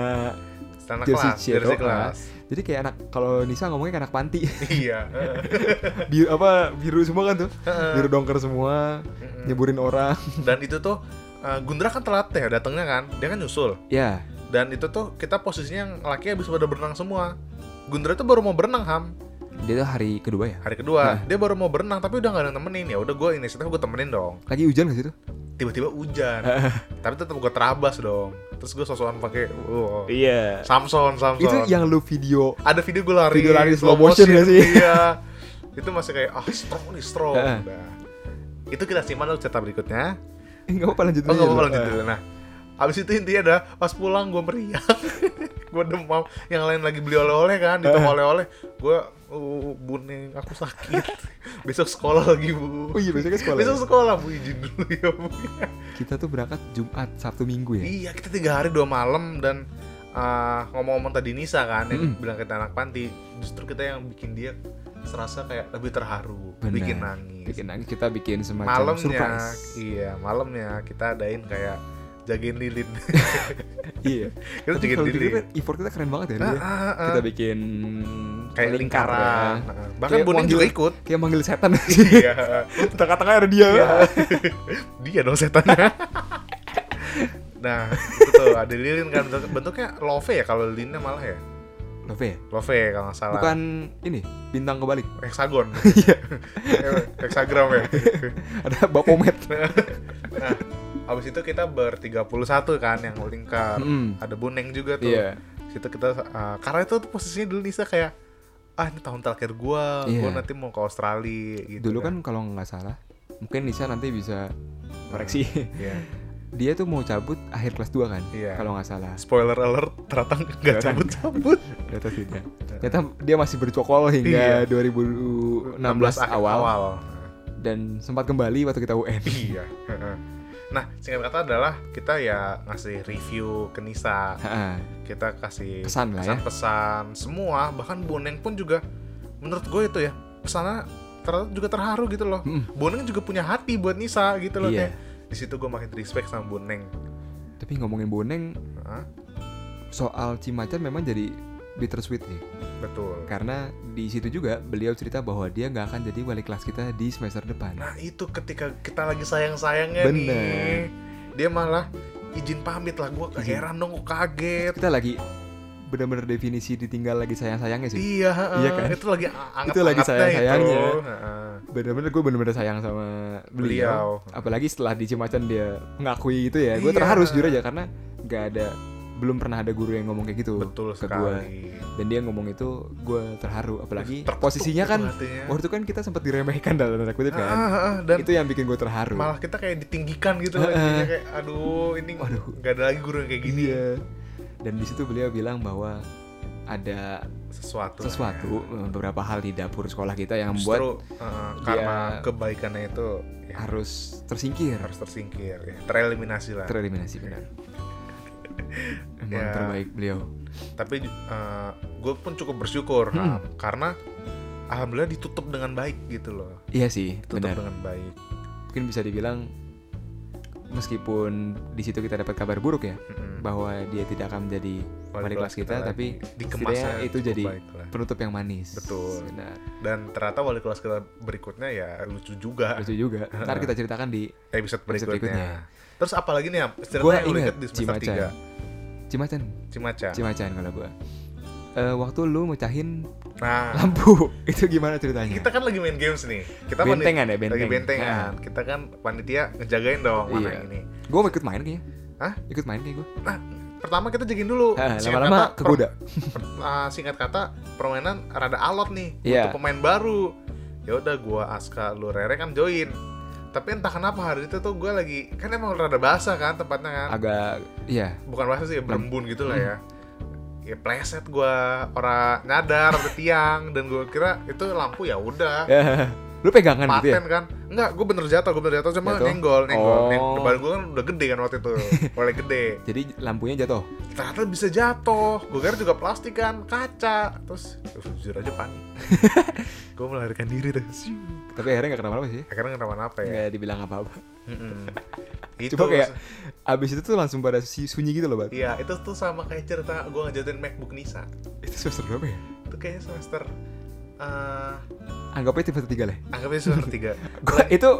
S1: tanah
S2: jersey
S1: kelas,
S2: cero,
S1: jersey
S2: ah.
S1: kelas.
S2: Jadi kayak anak kalau Nisa ngomongnya kayak anak panti.
S1: iya.
S2: biru apa biru semua kan tuh. Biru dongker semua,
S1: Mm-mm.
S2: nyeburin orang.
S1: Dan itu tuh eh, Gundra kan telat ya datangnya kan, dia kan nyusul.
S2: Ya,
S1: Dan itu tuh kita posisinya yang laki habis pada berenang semua. Gundra tuh baru mau berenang ham
S2: dia tuh hari kedua ya.
S1: hari kedua dia baru mau berenang tapi udah nggak ada yang temenin ya udah gue inisiatif gue temenin dong
S2: Lagi hujan gak sih tuh?
S1: tiba-tiba hujan tapi tetap gue terabas dong terus gue sosokan pakai wow.
S2: Iya.
S1: Samson Samson
S2: Itu yang lu video
S1: ada video gue lari
S2: Video lari slow motion nggak sih?
S1: iya itu masih kayak ah strong nih strong
S2: Heeh.
S1: Nah, itu kita simpan dulu cerita berikutnya
S2: enggak Eh, apa-apa lanjut
S1: oh nggak apa-apa
S2: dulu.
S1: lanjut dulu nah Abis itu intinya ada pas pulang gue meriang Gue demam Yang lain lagi beli oleh-oleh kan Di toko oleh-oleh Gue uh, Buning aku sakit Besok sekolah lagi bu
S2: Oh iya, besoknya sekolah.
S1: Besok sekolah bu izin dulu ya bu
S2: Iya. Kita tuh berangkat Jumat, Sabtu, Minggu ya.
S1: Iya kita tiga hari dua malam dan uh, ngomong-ngomong tadi Nisa kan yang
S2: Mm-mm.
S1: bilang kita anak panti justru kita yang bikin dia serasa kayak lebih terharu
S2: Benar.
S1: bikin nangis
S2: Bikin nangis kita bikin semacam
S1: malamnya
S2: surprise.
S1: iya malamnya kita adain kayak jagain lilin
S2: Iya.
S1: kita
S2: Tapi
S1: jagain
S2: kalau
S1: lilin
S2: dipikir-pikir, effort kita keren banget ya.
S1: Ah,
S2: dia.
S1: ah, ah, ah.
S2: Kita bikin
S1: kayak
S2: lingkar ya.
S1: lingkaran Nah, bahkan
S2: Kayak
S1: Bonin
S2: wangi-
S1: juga ikut
S2: Kayak manggil setan.
S1: iya
S2: kita katakan ada dia.
S1: Iya. dia dong setannya nah itu tuh ada lilin kan bentuk- bentuknya love ya kalau lilinnya malah ya
S2: Love ya?
S1: love E, kalau nggak salah
S2: Bukan ini bintang kebalik.
S1: heksagon
S2: Iya.
S1: Eh, heksagram ya
S2: Ada bapomet.
S1: nah abis itu kita ber 31 kan yang lingkar
S2: Mm.
S1: ada buneng juga tuh
S2: Iya.
S1: situ kita uh, karena itu tuh posisinya dulu Nisa kayak ah ini tahun terakhir gua
S2: Iya.
S1: gua nanti mau ke Australia gitu
S2: Dulu kan kalau nggak salah, mungkin Nisa nanti bisa koreksi.
S1: Iya.
S2: dia tuh mau cabut akhir kelas 2 kan?
S1: Iya.
S2: Kalau nggak salah.
S1: spoiler alert ternyata nggak
S2: Ternyata
S1: cabut cabut
S2: Ternyata tidak. Ternyata dia masih bercokol hingga 2016 awal, dan sempat kembali waktu kita UN.
S1: iya nah singkat kata adalah kita ya ngasih review ke Nisa
S2: Ha-ha.
S1: kita kasih
S2: Pesan Ah, lah ya.
S1: pesan semua bahkan Boneng pun juga menurut gue itu ya pesannya ternyata juga terharu gitu loh
S2: Mm.
S1: Boneng juga punya hati buat Nisa gitu loh
S2: Iya.
S1: kayak di situ gue makin respect sama Boneng
S2: Tapi ngomongin boneng
S1: Hah?
S2: soal Cimacan memang jadi bittersweet nih
S1: betul
S2: karena di situ juga beliau cerita bahwa dia nggak akan jadi wali kelas kita di semester depan.
S1: nah itu ketika kita lagi sayang sayangnya nih
S2: Bener.
S1: dia malah izin pamit lah gue heran dong gua kaget
S2: Nah, Kita lagi benar-benar definisi ditinggal lagi sayang-sayangnya sih.
S1: Iya, heeh.
S2: Iya kan?
S1: itu lagi anget
S2: Itu lagi sayang-sayangnya.
S1: Heeh.
S2: Bener-bener gue bener-bener sayang sama beliau.
S1: Beliau.
S2: apalagi setelah di Cimacan dia mengakui itu ya gue
S1: Iya.
S2: terharu jujur aja karena nggak ada belum pernah ada guru yang ngomong kayak gitu
S1: Betul
S2: ke gue
S1: sekali.
S2: dan dia ngomong itu gue terharu apalagi
S1: Terketuk
S2: posisinya
S1: itu
S2: kan
S1: gitu hatinya.
S2: waktu kan kita sempat diremehkan dalam tanda kutip
S1: Heeh,
S2: kan
S1: heeh. Ah, dan
S2: itu yang bikin gue terharu
S1: malah kita kayak ditinggikan gitu loh
S2: Iya. Heeh.
S1: intinya kayak aduh ini
S2: Waduh.
S1: nggak ada lagi guru yang kayak gini
S2: iya dan di situ beliau bilang bahwa ada
S1: sesuatu lah
S2: sesuatu beberapa hal di dapur sekolah kita
S1: ya.
S2: yang
S1: justru
S2: membuat
S1: eh, karena
S2: dia-
S1: kebaikannya itu ya,
S2: harus tersingkir
S1: harus tersingkir ya, tereliminasi lah
S2: tereliminasi benar emang
S1: Ya.
S2: terbaik beliau
S1: tapi gue pun cukup bersyukur
S2: Hmm.
S1: Ham, karena alhamdulillah ditutup dengan baik gitu loh
S2: iya sih
S1: tutup
S2: benar
S1: dengan baik
S2: mungkin bisa dibilang meskipun di situ kita dapat kabar buruk ya
S1: Mm-mm.
S2: bahwa dia tidak akan menjadi wali kelas kita, tapi
S1: dikemasnya
S2: setidaknya itu
S1: cukup
S2: jadi
S1: baik lah.
S2: penutup yang manis
S1: Betul.
S2: benar
S1: dan ternyata wali kelas kita berikutnya ya lucu juga
S2: lucu juga ntar kita ceritakan di
S1: episode berikutnya.
S2: berikutnya.
S1: terus apalagi nih Ham?
S2: gue
S1: Ceritanya yang lu inget
S2: ingat
S1: di semester Ya.
S2: cimacan cimacan
S1: 3 Cimacan
S2: cimacan kalau gue Eh, waktu lu mecahin
S1: nah
S2: lampu itu gimana ceritanya
S1: kita kan lagi main games nih kita panit-
S2: bentengan ya benteng
S1: lagi bentengan kita kan panitia ngejagain dong mana
S2: Iya.
S1: ini
S2: gue ikut main kayaknya
S1: Hah?
S2: ikut main kayak gue
S1: nah pertama kita jagain dulu
S2: Ah,
S1: Singkat
S2: lama-lama
S1: kata,
S2: kegoda.
S1: per- per- ah, singkat kata permainan rada alot nih
S2: Iya.
S1: untuk pemain baru ya udah gua Aska lu Rere kan join tapi entah kenapa hari itu tuh gua lagi kan emang rada basah kan tempatnya kan
S2: Ah. agak iya
S1: bukan basah sih ya berembun gitu lah ya
S2: Hmm.
S1: ya pleset gua ora nyadar ada tiang dan gua kira itu lampu ya udah
S2: Lu pegangan gitu ya?
S1: paten kan enggak gue bener jatuh gue bener jatuh cuma
S2: Jatuh?
S1: nenggol nenggol
S2: Oh.
S1: Neng- depan gue kan udah gede kan waktu itu mulai gede
S2: Jadi lampunya jatuh.
S1: ternyata bisa jatuh gue kira juga plastik kan kaca terus uh, jujur aja panik gue melarikan diri terus
S2: Tapi akhirnya gak kenapa-napa sih.
S1: akhirnya kenapa-napa ya
S2: Gak dibilang apa-apa.
S1: Mm-mm.
S2: Cuma kayak abis itu tuh langsung pada si- sunyi gitu loh, Bat.
S1: Iya, itu tuh sama kayak cerita gue ngejatuhin MacBook Nisa.
S2: Itu semester berapa ya?
S1: Itu kayaknya semester eh
S2: Anggapnya tipe tiga lah.
S1: anggapnya semester 3.
S2: Gua, itu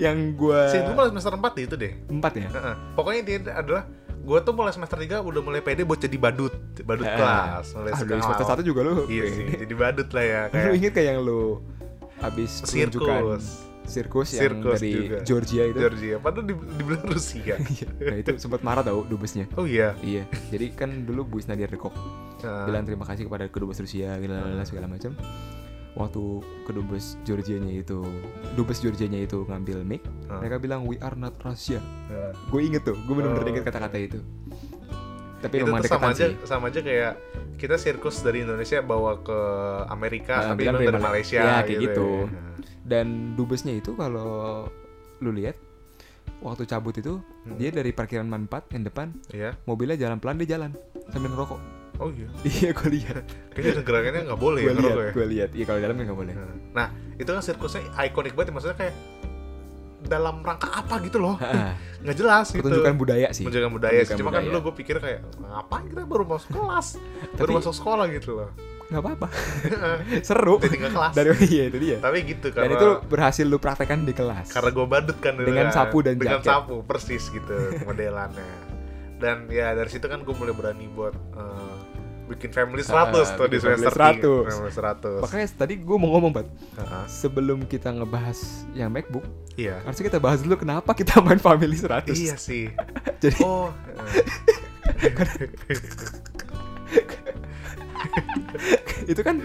S2: yang gua
S1: Sih, gue mulai semester 4 deh itu deh.
S2: empat ya.
S1: Heeh. Pokoknya intinya adalah gue tuh mulai semester 3 udah mulai pede buat jadi badut, badut
S2: Eh.
S1: kelas, mulai
S2: Aduh,
S1: sekarang.
S2: semester satu juga lu.
S1: Iya sih,
S2: pede.
S1: jadi badut lah ya
S2: Lu
S1: kayak
S2: inget kayak yang lu abis pertunjukan
S1: sirkus.
S2: sirkus, yang
S1: Sirkus
S2: dari
S1: juga.
S2: Georgia itu.
S1: Georgia, padahal di, dibilang Rusia.
S2: Iya. nah itu sempat marah tau dubesnya.
S1: Oh iya.
S2: Iya, jadi kan dulu Bu Nadia Dekok
S1: Nah,
S2: bilang terima kasih kepada kedubes Rusia lalala, segala macam. Waktu kedubes Georgianya itu, dubes Georgianya itu ngambil mic,
S1: nah,
S2: mereka bilang we are not Russia.
S1: nah.
S2: Gue inget tuh, gue bener-bener
S1: Oh.
S2: inget kata-kata itu. Tapi
S1: Itu
S2: memang
S1: tuh
S2: deketan
S1: sama aja,
S2: sih.
S1: sama aja kayak kita sirkus dari Indonesia bawa ke Amerika,
S2: Nah,
S1: tapi
S2: bilang
S1: emang
S2: dari
S1: dari
S2: Mal-
S1: Malaysia
S2: Ya, kayak gitu.
S1: ya.
S2: Dan dubesnya itu kalau lu lihat waktu cabut itu
S1: Hmm.
S2: dia dari parkiran manfaat yang depan
S1: Iya.
S2: mobilnya jalan pelan dia jalan sambil ngerokok.
S1: Oh iya.
S2: Iya gue lihat.
S1: Kayaknya gerakannya nggak boleh
S2: gue
S1: ya
S2: lihat,
S1: ngerokok ya.
S2: gue lihat. Iya kalau dalam nggak boleh.
S1: Nah, itu kan sirkusnya ikonik banget. ya, Maksudnya kayak dalam rangka apa gitu loh?
S2: Ah,
S1: Nggak jelas gitu.
S2: Pertunjukan budaya sih.
S1: Menjaga budaya sih.
S2: Pertunjukan
S1: Cuma kan
S2: budaya.
S1: dulu gue pikir kayak ngapain kita baru masuk kelas, baru
S2: Tapi-
S1: masuk sekolah gitu loh.
S2: Nggak apa-apa. Seru.
S1: Jadi nggak kelas.
S2: Dari iya itu dia.
S1: Tapi gitu
S2: Dan
S1: karena
S2: itu berhasil lu praktekan di kelas.
S1: karena gue badut kan dulu
S2: Dengan
S1: kan.
S2: sapu dan
S1: dengan
S2: jaket.
S1: sapu persis gitu modelannya. Dan ya dari situ kan gue mulai berani buat eh, bikin family 100
S2: Ah,
S1: tuh di
S2: bikin family
S1: semester 3.
S2: 100.
S1: Family 100.
S2: Makanya tadi gue mau ngomong, Pat.
S1: Heeh.
S2: Sebelum kita ngebahas yang MacBook,
S1: Iya.
S2: harusnya kita bahas dulu kenapa kita main Family 100.
S1: Iya sih.
S2: Jadi
S1: Oh.
S2: itu kan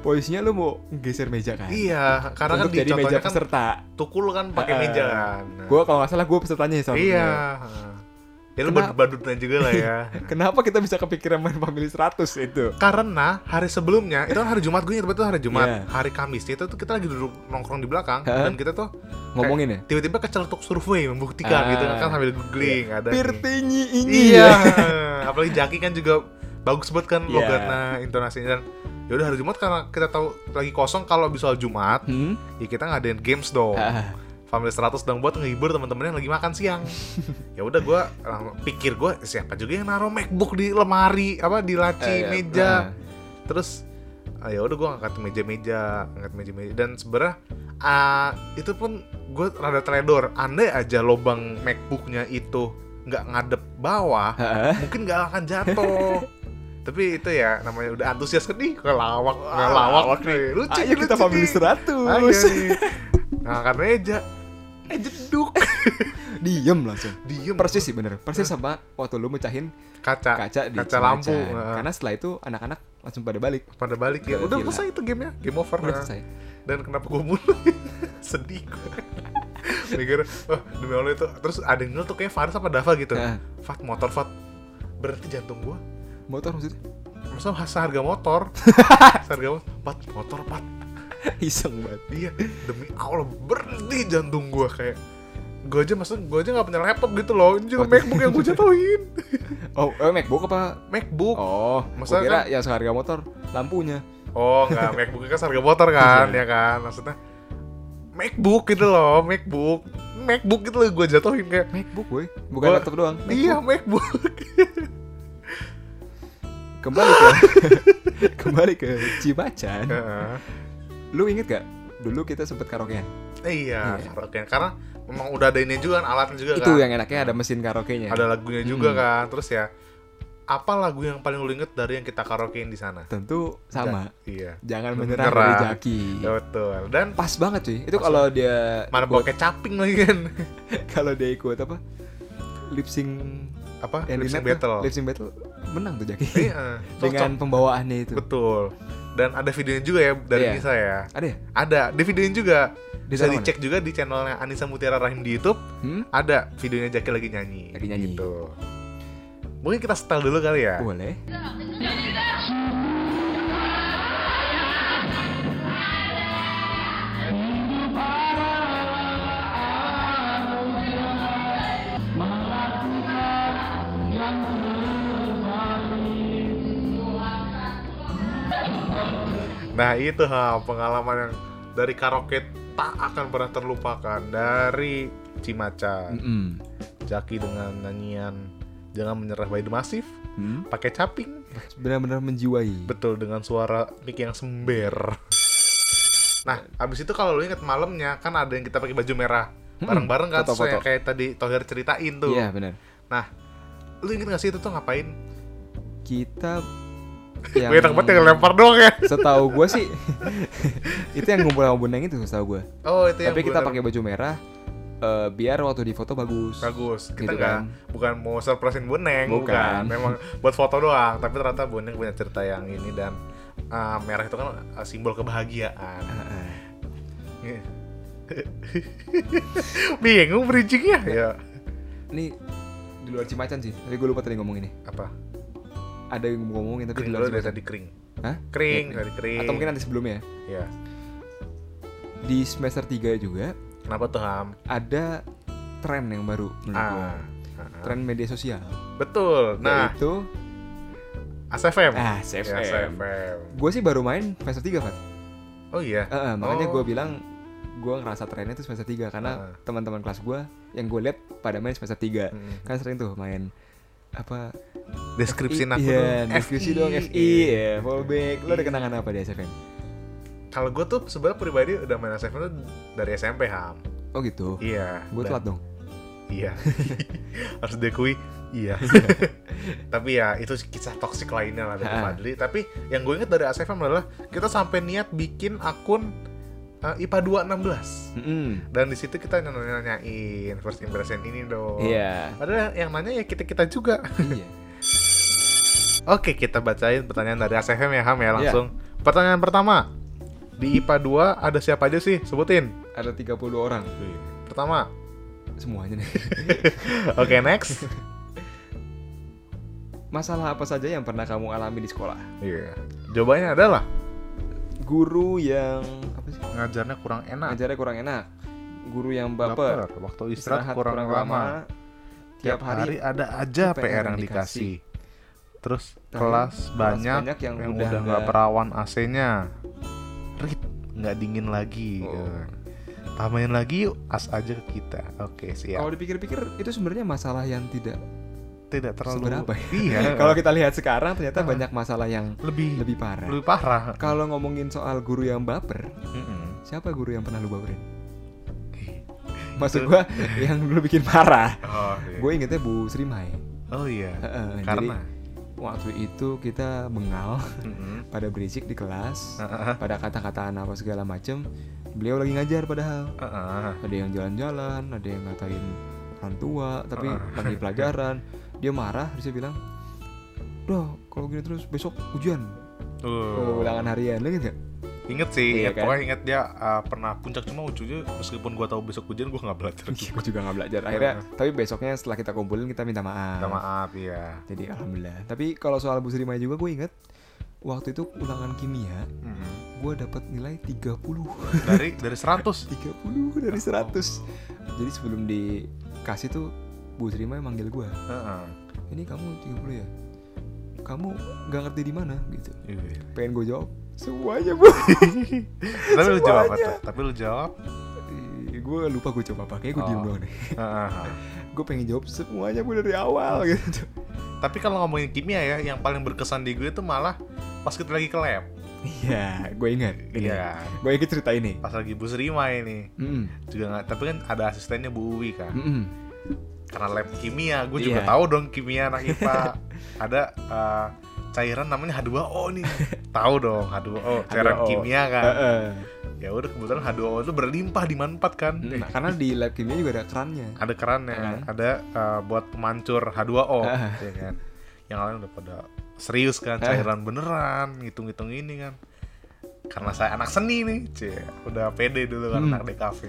S2: posisinya lu mau geser meja kan?
S1: iya, karena kan
S2: Untuk
S1: di
S2: jadi meja
S1: contohnya kan
S2: peserta.
S1: tukul kan pakai
S2: Eh,
S1: meja kan. Nah,
S2: Gue kalau nggak salah gue pesertanya ya soalnya.
S1: Iya. Ya lu
S2: Kenapa?
S1: badut-badutnya juga lah ya.
S2: Kenapa kita bisa kepikiran main Family 100 itu?
S1: Karena hari sebelumnya itu kan hari Jumat gue ingat banget tuh hari Jumat,
S2: Iya.
S1: hari Kamis itu tuh kita lagi duduk nongkrong di belakang
S2: Hah?
S1: dan kita tuh
S2: Ngomongin ya?
S1: tiba-tiba keceletuk survei membuktikan
S2: Ah.
S1: gitu kan kan sambil googling ada nih.
S2: Pirtinyi ini
S1: Iya. Apalagi Jaki kan juga bagus banget kan
S2: Iya.
S1: logatnya intonasinya dan yaudah hari Jumat karena kita tahu lagi kosong kalau bisa Jumat
S2: Hmm?
S1: ya kita ngadain games dong.
S2: Ah,
S1: Family 100 sedang buat ngehibur teman-teman yang lagi makan siang. ya udah gua lang- pikir gua siapa juga yang naruh MacBook di lemari apa di laci
S2: eh,
S1: meja.
S2: ah.
S1: Terus ah, ya udah gua ngangkat meja-meja, ngangkat meja-meja dan sebenarnya ah, itu pun gua rada teledor. Andai aja lobang MacBooknya itu nggak ngadep bawah,
S2: Ah,
S1: mungkin nggak akan jatuh. Tapi itu ya namanya udah antusias kan nih kelawak, kelawak nih. Lucu,
S2: Ah, Ayo kita
S1: lucu
S2: Family
S1: nih.
S2: 100.
S1: Ayo nih. Ngangkat meja. Eh jeduk.
S2: Diem langsung.
S1: Diem.
S2: Persis sih bener. Persis sama waktu lu mecahin
S1: Kaca.
S2: kaca di
S1: kaca
S2: Cimacan.
S1: lampu, heeh.
S2: Karena setelah itu anak-anak langsung pada balik.
S1: Pada balik ya.
S2: Gila.
S1: Udah selesai itu gamenya. Game over.
S2: Udah
S1: Nah.
S2: selesai.
S1: Dan kenapa gue mulai? Sedih gue. Mikir, wah demi Allah itu. Terus ada yang tuh kayak Faris apa Dava gitu.
S2: Heeh.
S1: Fat motor Fat. Berarti jantung gue.
S2: Motor maksudnya?
S1: Masa harga motor? harga motor. Pat motor Pat.
S2: Iseng banget.
S1: Iya. Demi Allah berhenti jantung gue kayak. Gue aja maksudnya gue aja gak punya laptop gitu loh. Ini juga
S2: Waduh.
S1: MacBook yang gue jatuhin.
S2: Oh, eh, MacBook apa?
S1: MacBook.
S2: Oh,
S1: Maksudnya kan-
S2: gua kira yang seharga motor lampunya.
S1: Oh enggak, MacBook kan harga motor kan,
S2: Iya.
S1: ya kan? Maksudnya MacBook gitu loh, MacBook. MacBook gitu loh gue jatuhin kayak
S2: MacBook, boy. Bukan
S1: Gua-
S2: laptop doang. Eh,
S1: Iya, MacBook.
S2: Kembali ke Kembali ke Cimacan.
S1: Heeh.
S2: Lu inget gak? Dulu kita sempet karaokean.
S1: iya, karaoke. Karena memang udah ada ini juga kan, alatnya juga
S2: Itu
S1: kan.
S2: yang enaknya ada mesin karaoke-nya.
S1: Ada lagunya juga
S2: Hmm.
S1: kan. Terus ya apa lagu yang paling lu inget dari yang kita karaokein di sana?
S2: Tentu sama. Iya.
S1: Ja- Iya.
S2: Jangan
S1: Menyerah.
S2: menyerah dari jaki.
S1: Betul. Dan
S2: Pas banget cuy. Itu
S1: Pas
S2: kalau dia
S1: mana
S2: ikut-
S1: pakai caping lagi kan?
S2: kalau dia ikut apa? Lip sync
S1: Apa?
S2: yang
S1: Ah, Lip Sync
S2: di net tuh,
S1: battle.
S2: Lip sync battle menang tuh jaki.
S1: Iya.
S2: Dengan
S1: Cocok.
S2: pembawaannya itu.
S1: betul. Dan ada videonya juga ya dari
S2: Iya.
S1: Nisa ya.
S2: Ada ya?
S1: Ada, di videoin juga.
S2: Di
S1: Bisa
S2: sana mana?
S1: dicek juga di channelnya Anissa Mutiara Rahim di YouTube.
S2: Hmm?
S1: Ada videonya Jaki lagi nyanyi.
S2: Lagi nyanyi.
S1: Gitu. Mungkin kita setel dulu kali ya.
S2: Boleh.
S1: Nah itu ha pengalaman yang dari karaoke tak akan pernah terlupakan dari Cimacan.
S2: Mm-mm.
S1: Jaki dengan nyanyian Jangan Menyerah by The Massive
S2: Hmm?
S1: pakai caping
S2: Benar-benar menjiwai.
S1: betul dengan suara mic yang sember. Nah, abis itu kalau lu inget malamnya kan ada yang kita pakai baju merah bareng-bareng kan sesuai
S2: foto-foto.
S1: yang kayak tadi Tohir ceritain tuh.
S2: Hmm. Iya benar.
S1: Nah, Lu inget gak sih itu tuh ngapain?
S2: Kita
S1: Gue enak banget yang lempar doang ya.
S2: Setahu gue sih itu yang ngumpul sama Boneng itu setahu gue.
S1: Oh itu yang
S2: Tapi kita
S1: bulan-
S2: pakai baju merah eh, biar waktu di foto bagus.
S1: bagus. Kita
S2: Gitu
S1: nggak
S2: kan.
S1: bukan mau surprisein Boneng, bukan.
S2: Bukan.
S1: Memang buat foto doang. Tapi ternyata Boneng punya cerita yang ini dan ah, merah itu kan ah, simbol kebahagiaan.
S2: Heeh.
S1: Bingung bridgingnya ya.
S2: Ini di luar Cimacan sih. Tapi gue lupa tadi ngomong ini.
S1: Apa?
S2: Ada yang mau ngomongin tapi
S1: Kering
S2: di luar
S1: dulu dari
S2: Cimacan.
S1: tadi kering.
S2: Hah?
S1: Kering
S2: Iya,
S1: dari kering.
S2: Atau mungkin nanti sebelumnya.
S1: ya.
S2: Di semester 3 juga
S1: Kenapa tuh Ham?
S2: ada tren yang baru menurut gua.
S1: Ah, ah, ah.
S2: Tren media sosial.
S1: betul. Nah,
S2: Yaitu
S1: ASFM.
S2: ah
S1: Ya,
S2: CFM. Gue sih baru main semester 3 Fat.
S1: Oh iya.
S2: Heeh, makanya
S1: Oh.
S2: gue bilang gue ngerasa trennya itu semester 3
S1: Ah.
S2: karena teman-teman kelas gue yang gue lihat pada main semester 3
S1: Mm.
S2: kan sering tuh main apa
S1: Deskripsi aku
S2: iya,
S1: dong.
S2: deskripsi dong FI ya fallback lo ada kenangan apa di SFM
S1: Kalau gue tuh sebenarnya pribadi udah main ASFM tuh dari SMP Ham.
S2: oh gitu
S1: Iya.
S2: gue
S1: dan-
S2: telat dong
S1: Iya. Harus diakui. Iya. Tapi ya itu kisah toksik lainnya lah dari
S2: Ha-ha.
S1: Fadli. Tapi yang gue inget dari ASFM adalah kita sampai niat bikin akun eh, IPA 216.
S2: Mm-mm.
S1: Dan di situ kita nanya-nanyain first impression ini dong.
S2: iya
S1: Padahal yang nanya ya kita-kita juga.
S2: iya
S1: Oke, kita bacain pertanyaan dari ASFM ya, Ham ya langsung. Pertanyaan pertama. Di IPA 2 ada siapa aja sih? Sebutin.
S2: ada 30 orang
S1: Pertama.
S2: semuanya nih
S1: Oke, next.
S2: masalah apa saja yang pernah kamu alami di sekolah
S1: Iya. Jawabannya adalah
S2: guru yang apa sih
S1: ngajarnya kurang enak.
S2: ngajarnya kurang enak guru yang baper
S1: Baper. Waktu istirahat, kurang, lama.
S2: tiap hari
S1: ada aja
S2: PR
S1: PR yang
S2: yang
S1: dikasih. Terus
S2: Tapi
S1: kelas banyak,
S2: banyak yang
S1: yang,
S2: udah
S1: udah nggak
S2: nggak-
S1: perawan AC-nya. Rit, nggak dingin lagi.
S2: Oh.
S1: Eh, Tambahin lagi yuk as aja ke kita. Oke, siap.
S2: Kalau dipikir-pikir itu sebenarnya masalah yang tidak.
S1: Tidak terlalu
S2: seberapa ya?
S1: Iya.
S2: Kalau kita lihat sekarang ternyata
S1: Ah.
S2: banyak masalah yang
S1: lebih
S2: lebih parah.
S1: lebih parah.
S2: Kalau ngomongin soal guru yang baper,
S1: Mm-mm.
S2: siapa guru yang pernah lu baperin? Maksud gua yang dulu bikin parah.
S1: Oh, iya.
S2: Gue Eh, ingetnya Bu Sri Mai.
S1: Oh iya.
S2: Heeh,
S1: Karena.
S2: Jadi, waktu itu kita bengal
S1: Mm-mm.
S2: pada berisik di kelas,
S1: Heeh,
S2: pada kata-kataan apa segala macem. Beliau lagi ngajar padahal.
S1: heeh.
S2: Ada yang jalan-jalan, ada yang ngatain orang tua, tapi
S1: Ah.
S2: lagi pelajaran. Dia marah, terus dia bilang, Duh, kalau gini terus besok ujian
S1: Tuh.
S2: Oh, ulangan harian lu inget gak?
S1: Ingat sih,
S2: Iya
S1: ingat.
S2: kan?
S1: pokoknya ingat dia uh, pernah puncak cuma lucunya meskipun gua tahu besok hujan gua nggak belajar.
S2: Iya, gue juga gak belajar. Akhirnya, tapi besoknya setelah kita kumpulin kita minta maaf.
S1: Minta maaf ya.
S2: Jadi alhamdulillah. Tapi kalau soal Bu Sri Maya juga gue inget waktu itu ulangan kimia
S1: Mm-mm.
S2: gue dapat nilai 30 30
S1: Dari dari 100.
S2: dari 100 jadi sebelum dikasih tuh Bu Sri Maya manggil gue
S1: Heeh.
S2: ini kamu 30 ya kamu gak ngerti di mana gitu
S1: Iya.
S2: pengen gue jawab semuanya bu
S1: Tapi lu jawab apa
S2: Semuanya.
S1: tuh? Tapi lu jawab.
S2: gue lupa gue jawab apa kayaknya gue diem
S1: Oh.
S2: doang deh
S1: Heeh.
S2: gue pengen jawab semuanya bu dari awal gitu
S1: Tapi kalau ngomongin kimia ya, yang paling berkesan di gue itu malah pas kita lagi ke lab.
S2: iya gue ingat ini
S1: Iya.
S2: gue ingat cerita ini
S1: Pas lagi Bu Srima ini
S2: Mm-mm.
S1: juga nggak. Tapi kan ada asistennya Bu Uwi kan.
S2: Mm-mm.
S1: karena lab kimia gue juga
S2: Hmm. Iya.
S1: tahu dong kimia anak IPA ada eh, cairan namanya H2O nih tahu dong H2O cairan
S2: H2O.
S1: kimia kan
S2: Heeh.
S1: ya udah kebetulan H2O itu berlimpah di manfaat kan
S2: Mm, karena di lab kimia juga ada kerannya
S1: ada kerannya
S2: Heeh.
S1: ada eh, buat pemancur H2O
S2: Heeh.
S1: ya kan yang lain udah pada serius kan
S2: Heeh.
S1: cairan beneran ngitung-ngitung ini kan karena saya anak seni nih cie udah pede dulu kan
S2: Hmm.
S1: anak DKV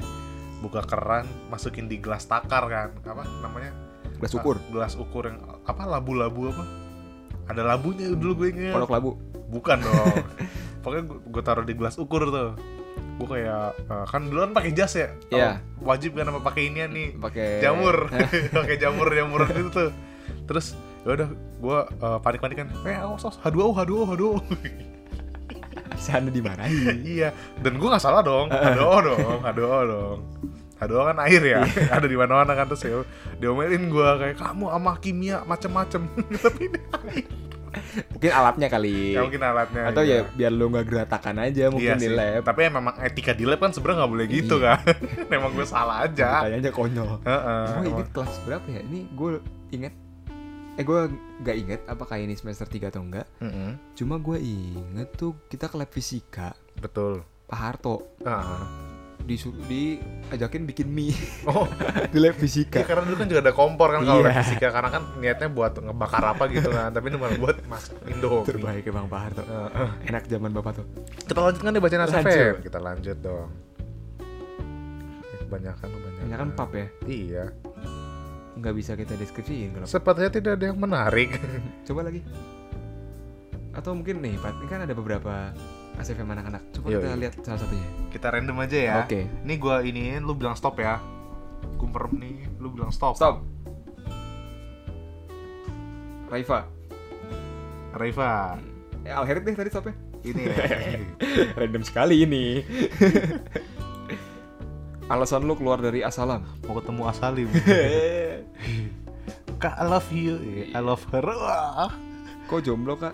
S1: buka keran masukin di gelas takar kan apa namanya Ah,
S2: gelas ukur
S1: gelas ukur yang apa labu-labu apa ada labunya dulu gue inget
S2: pondok labu
S1: bukan dong pokoknya gue, gue taruh di gelas ukur tuh gue kayak eh, kan duluan pakai jas ya Kalau
S2: Iya.
S1: wajib kan apa pakai inian nih
S2: pakai
S1: jamur
S2: Ya.
S1: pakai jamur jamuran itu tuh terus Eh, ya udah gue panik panik kan eh awas awas h 2 h 2 h 2
S2: sana dimarahi
S1: Iya, dan gue nggak salah dong. Hado dong, hado dong. Hado kan air ya,
S2: Iya.
S1: ada di mana-mana kan terus ya, diomelin gue kayak kamu sama kimia macem-macem. Gitu, Tapi ini air.
S2: mungkin alatnya kali
S1: ya mungkin alatnya.
S2: atau
S1: iya.
S2: ya biar lu nggak geratakan aja mungkin
S1: Iya
S2: di
S1: sih.
S2: lab Iya.
S1: Tapi ya memang etika di lab kan sebenarnya nggak boleh gitu kan. memang gue salah aja.
S2: tanya aja konyol
S1: Heeh.
S2: gue
S1: emang.
S2: inget Ya. kelas berapa ya ini gue inget eh gue nggak inget apakah ini semester 3 atau enggak
S1: Mm-mm,
S2: cuma gue inget tuh kita ke lab fisika
S1: Betul. Ah.
S2: Pak Harto
S1: Heeh.
S2: disuruh diajakin bikin mie
S1: Oh,
S2: di lab
S1: iya,
S2: fisika
S1: karena dulu kan juga ada kompor kan kalau
S2: Iya.
S1: fisika karena kan niatnya buat ngebakar apa gitu kan, tapi ini malah buat masak Indomie.
S2: terbaik emang Pak Harto
S1: Heeh.
S2: enak zaman bapak tuh
S1: Kita lanjut kan dibacain
S2: Lanjut.
S1: ASFM. Kita lanjut dong. Eh, Kebanyakan kebanyakan.
S2: ini kan pap ya
S1: Iya.
S2: nggak bisa kita deskripsiin kalau
S1: Sepertinya tidak ada yang menarik.
S2: coba lagi atau mungkin nih Pat ini kan ada beberapa ACFM anak-anak coba
S1: Yoi.
S2: kita lihat salah satunya
S1: Kita random aja ya.
S2: oke
S1: Ini gua iniin, lu bilang stop ya. Gue merem nih, lu bilang stop.
S2: Oh, stop Raifa
S1: Raifa,
S2: eh, Alherit deh tadi stopnya
S1: ini ya.
S2: random sekali ini alasan lu keluar dari asalam
S1: mau ketemu Asalim.
S2: kok
S1: Kak, I love you, I love her. Wah.
S2: jomblo kak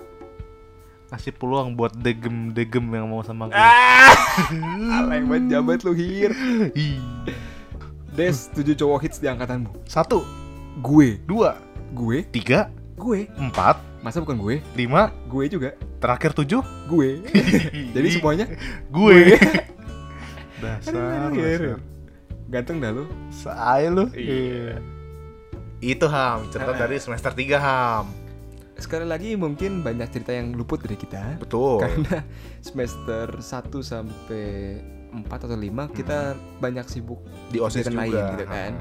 S1: Kasih peluang buat degem-degem yang mau sama gue.
S2: alay Ah! banget jabat lu hir
S1: Ih.
S2: Des tujuh cowok hits di angkatanmu
S1: Satu,
S2: gue
S1: dua,
S2: gue
S1: tiga,
S2: gue
S1: empat,
S2: masa bukan gue
S1: lima,
S2: gue juga
S1: terakhir tujuh.
S2: gue jadi semuanya
S1: gue. dasar,
S2: Aduh, aduh,
S1: dasar.
S2: ganteng dah lu
S1: Say lu.
S2: Iya.
S1: Itu Ham, cerita dari semester 3 Ham.
S2: sekali lagi mungkin banyak cerita yang luput dari kita
S1: Betul.
S2: karena semester 1 sampai 4 atau 5 kita banyak sibuk
S1: Hmm. Di OSIS juga. Nah,
S2: kegiatan lain gitu kan.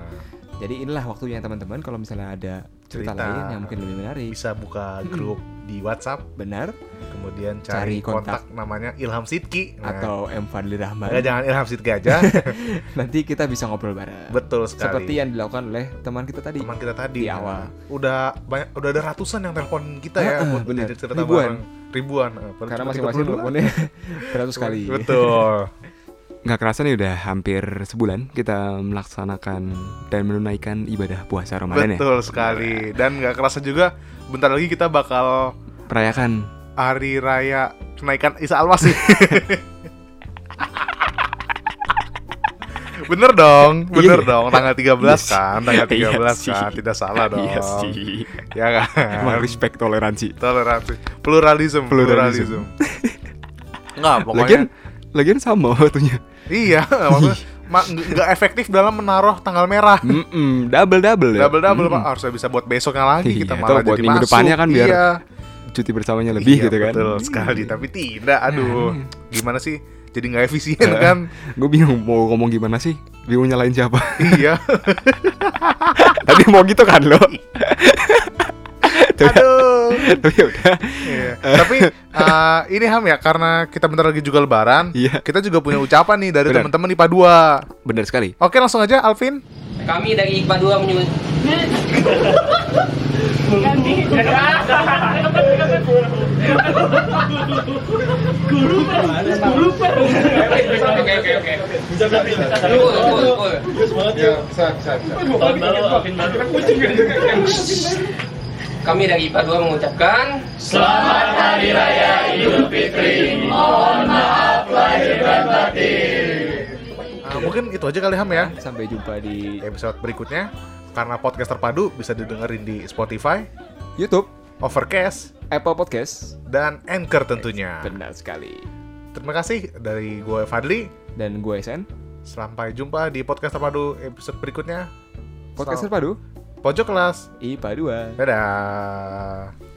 S2: jadi inilah waktunya teman-teman kalau misalnya ada cerita,
S1: Cerita.
S2: lain yang mungkin lebih menarik
S1: Bisa Nah. buka grup di WhatsApp,
S2: benar
S1: kemudian cari,
S2: Hmm. Cari
S1: kontak.
S2: kontak.
S1: namanya Ilham Sidki. Nah,
S2: atau M Fadli Rahman
S1: enggak, jangan Ilham Sidki aja.
S2: nanti kita bisa ngobrol bareng
S1: Betul sekali.
S2: seperti yang dilakukan oleh teman kita tadi
S1: teman kita tadi.
S2: Di awal.
S1: Udah banyak udah ada ratusan yang telepon kita ya
S2: Heeh,
S1: buat
S2: bener.
S1: jadi cerita
S2: Ribuan.
S1: bareng. Ribuan. eh, padahal
S2: karena
S1: cuma 32.
S2: masing-masing teleponnya beratus kali
S1: Betul.
S2: nggak kerasa nih udah hampir sebulan kita melaksanakan dan menunaikan ibadah puasa Ramadan ya
S1: Betul sekali. Dan nggak kerasa juga bentar lagi kita bakal
S2: Perayakan
S1: hari raya kenaikan Isa Almasih. bener dong, bener
S2: Iya.
S1: dong. Tanggal 13 kan, tanggal 13
S2: Iya sih.
S1: kan, tidak salah dong.
S2: Iya sih
S1: Ya
S2: Emang
S1: kan.
S2: respect toleransi
S1: Toleransi, pluralisme, pluralisme.
S2: Pluralisme.
S1: Enggak, pokoknya
S2: Lagian Lagian sama waktunya
S1: iya, maksudnya ma- nggak efektif dalam menaruh tanggal merah.
S2: Hmm. Mm-mm, Double-double ya
S1: Double double
S2: Mm-mm.
S1: Pak, harusnya bisa buat besoknya lagi kita
S2: Iya,
S1: malah
S2: atau buat
S1: jadi
S2: minggu
S1: masuk.
S2: depannya kan biar
S1: Iya.
S2: Cuti bersamanya
S1: Iya,
S2: lebih gitu kan Iya.
S1: Betul sekali, tapi tidak. Aduh, gimana sih? Jadi nggak efisien kan?
S2: Gue bingung mau ngomong gimana sih Bingung nyalain siapa
S1: iya.
S2: Tapi mau gitu kan lo Tapi-
S1: Aduh.
S2: Tapi ya udah
S1: Iya. Tapi eh, ini Ham ya karena kita bentar lagi juga lebaran,
S2: Iya.
S1: kita juga punya ucapan nih dari
S2: Benar.
S1: teman-teman IPA 2.
S2: Bener sekali
S1: Oke, langsung aja Alvin.
S5: Kami dari IPA 2 menyebut Oke oke oke. Cool cool cool. Kami dari IPA 2 mengucapkan
S1: Eh, mungkin itu aja kali Ham ya.
S2: Sampai jumpa di
S1: Episode berikutnya karena podcast terpadu bisa didengerin di Spotify,
S2: Youtube
S1: Overcast,
S2: Apple Podcast
S1: dan Anchor tentunya.
S2: Benar sekali
S1: Terima kasih dari gue Fadli.
S2: Dan gue SN
S1: Sampai jumpa di podcast terpadu episode berikutnya.
S2: Podcast
S1: Sal-
S2: Terpadu
S1: Pojok kelas.
S2: IPA 2
S1: Dadah.